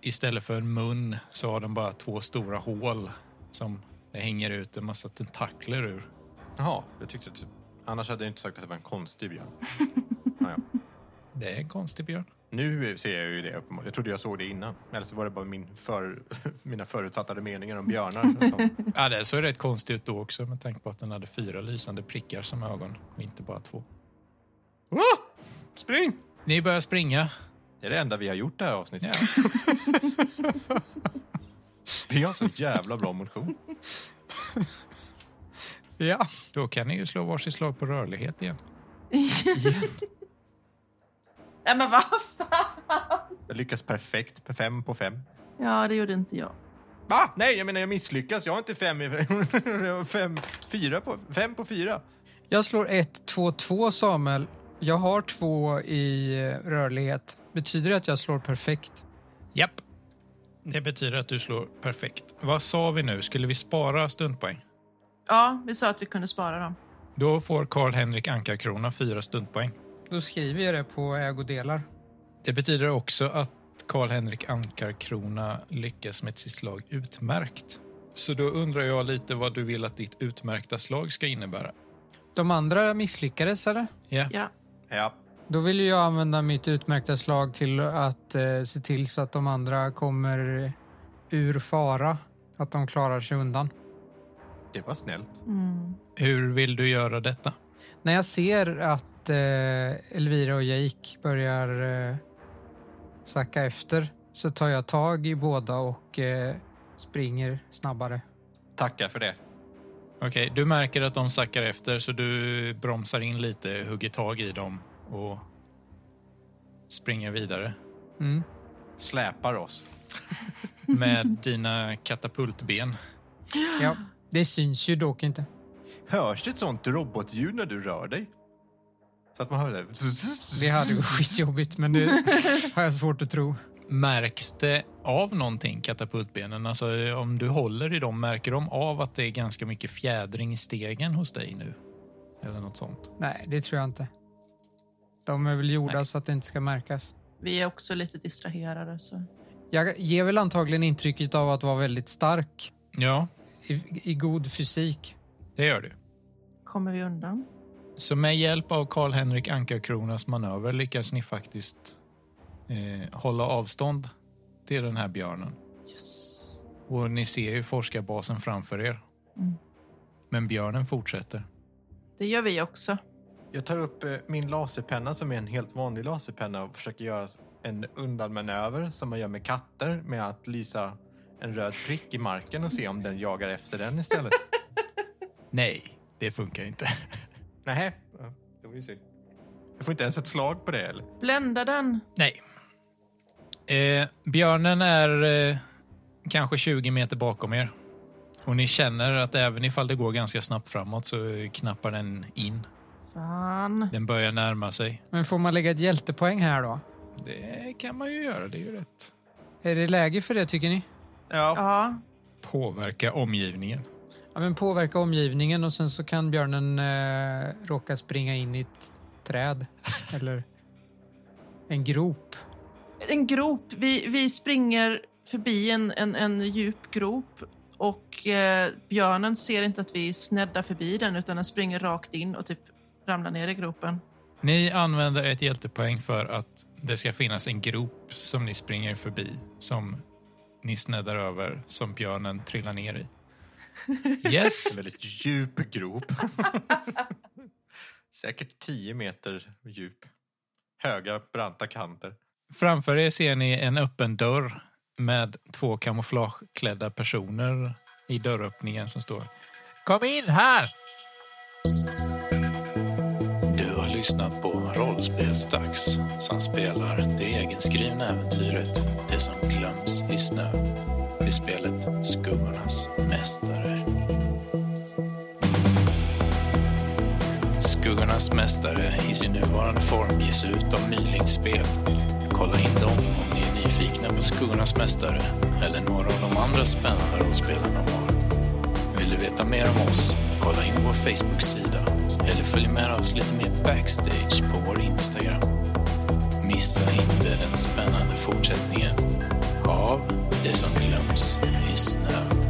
A: istället för en mun så har den bara två stora hål som det hänger ut en massa tentakler ur.
D: Jaha, jag tyckte att... Annars hade jag inte sagt att det var en konstig björn. Ja, ja.
A: Det är en konstig björn.
D: Nu ser jag ju det uppenbarligen. Jag trodde jag såg det innan. Eller så var det bara min för, mina förutfattade meningar om björnar. Som,
A: Ja, det såg rätt konstigt ut då också med tanke på att den hade fyra lysande prickar som ögon och inte bara två.
D: ah! Spring!
A: Ni börjar springa.
D: Det är det enda vi har gjort det här avsnittet. vi har så jävla bra motion.
B: Ja.
A: Då kan ni ju slå varsitt slag på rörlighet igen.
C: Nej, men vad fan?
D: Jag lyckas perfekt. på Fem på fem.
C: Ja, det gjorde inte jag.
D: Va? Nej, jag menar jag misslyckas. Jag har inte fem i jag har fem. Fyra på fem. på fyra.
B: Jag slår 1, 2, 2 Samuel. Jag har två i eh, rörlighet. Betyder det att jag slår perfekt?
A: Japp. Det betyder att du slår perfekt. Vad sa vi nu? Skulle vi spara stuntpoäng?
C: Ja, vi sa att vi kunde spara dem.
A: Då får Karl-Henrik Ankarkrona fyra stuntpoäng.
B: Då skriver jag det på ägodelar.
A: Det betyder också att Karl-Henrik Ankarkrona lyckas med sitt slag utmärkt. Så då undrar jag lite vad du vill att ditt utmärkta slag ska innebära.
B: De andra misslyckades, eller?
A: Ja.
C: Ja.
D: Ja.
B: Då vill ju jag använda mitt utmärkta slag till att eh, se till så att de andra kommer ur fara. Att de klarar sig undan.
D: Det var snällt.
A: Hur vill du göra detta?
B: När jag ser att eh, Elvira och Jake börjar eh, sacka efter så tar jag tag i båda och eh, springer snabbare.
D: Tackar för det.
A: Okej, du märker att de sackar efter så du bromsar in lite, hugger tag i dem och springer vidare
B: Mm.
D: Släpar oss.
A: med dina katapultben.
B: Ja, det syns ju dock inte.
D: Hörs det ett sånt robotljud när du rör dig? Så att man hör det.
B: Det hade varit skitjobbigt men det har jag svårt att tro.
A: Märks det av någonting, katapultbenen? Alltså, om du håller i dem, märker de av att det är ganska mycket fjädring i stegen hos dig nu? Eller något sånt.
B: Nej, det tror jag inte. De är väl gjorda
A: Nej.
B: så att det inte ska märkas.
C: Vi är också lite distraherade. Så.
B: Jag ger väl antagligen intrycket av att vara väldigt stark
A: Ja,
B: i, i god fysik.
A: det gör du.
C: Kommer vi undan?
A: Så med hjälp av Karl-Henrik Ankarkronas manöver lyckas ni faktiskt eh, hålla avstånd till den här björnen.
C: Yes.
A: Och ni ser ju forskarbasen framför er.
C: Mm.
A: Men björnen fortsätter.
C: Det gör vi också.
D: Jag tar upp eh, min laserpenna som är en helt vanlig laserpenna och försöker göra en undanmanöver som man gör med katter med att lysa en röd prick i marken och se om den jagar efter den istället.
A: Nej, det funkar inte.
D: Nej, det var ju synd. Jag får inte ens ett slag på det eller?
C: Blända den.
A: Nej. Eh, björnen är eh, kanske 20 meter bakom er. Och ni känner att även ifall det går ganska snabbt framåt så eh, knappar den in.
C: Fan.
A: Den börjar närma sig.
B: Men får man lägga ett hjältepoäng här då?
A: Det kan man ju göra, det är ju rätt.
B: Är det läge för det tycker ni?
D: Ja.
C: Ja,
A: Påverka omgivningen.
B: Ja, men påverka omgivningen och sen så kan björnen eh, råka springa in i ett träd eller en grop.
C: en grop. Vi, vi springer förbi en, en, en djup grop och eh, björnen ser inte att vi sneddar förbi den utan den springer rakt in och typ ramlar ner i gropen.
A: Ni använder ett hjältepoäng för att det ska finnas en grop som ni springer förbi, som ni sneddar över, som björnen trillar ner i.
D: En
A: Yes!
D: väldigt djup grop. Säkert 10 meter djup. Höga, branta kanter.
A: Framför er ser ni en öppen dörr med två kamouflageklädda personer i dörröppningen som står.
E: Kom in här!
F: Du har lyssnat på Rollspelsdags som spelar det egenskrivna äventyret Det som glöms i snö till spelet Skuggornas mästare. Skuggornas mästare i sin nuvarande form ges ut av Mylingspel. Kolla in dem om ni är nyfikna på Skuggornas mästare eller några av de andra spännande rollspelen de har. Vill du veta mer om oss? Kolla in vår Facebook-sida eller följ med oss lite mer backstage på vår Instagram. Missa inte den spännande fortsättningen av Det som glöms i snö.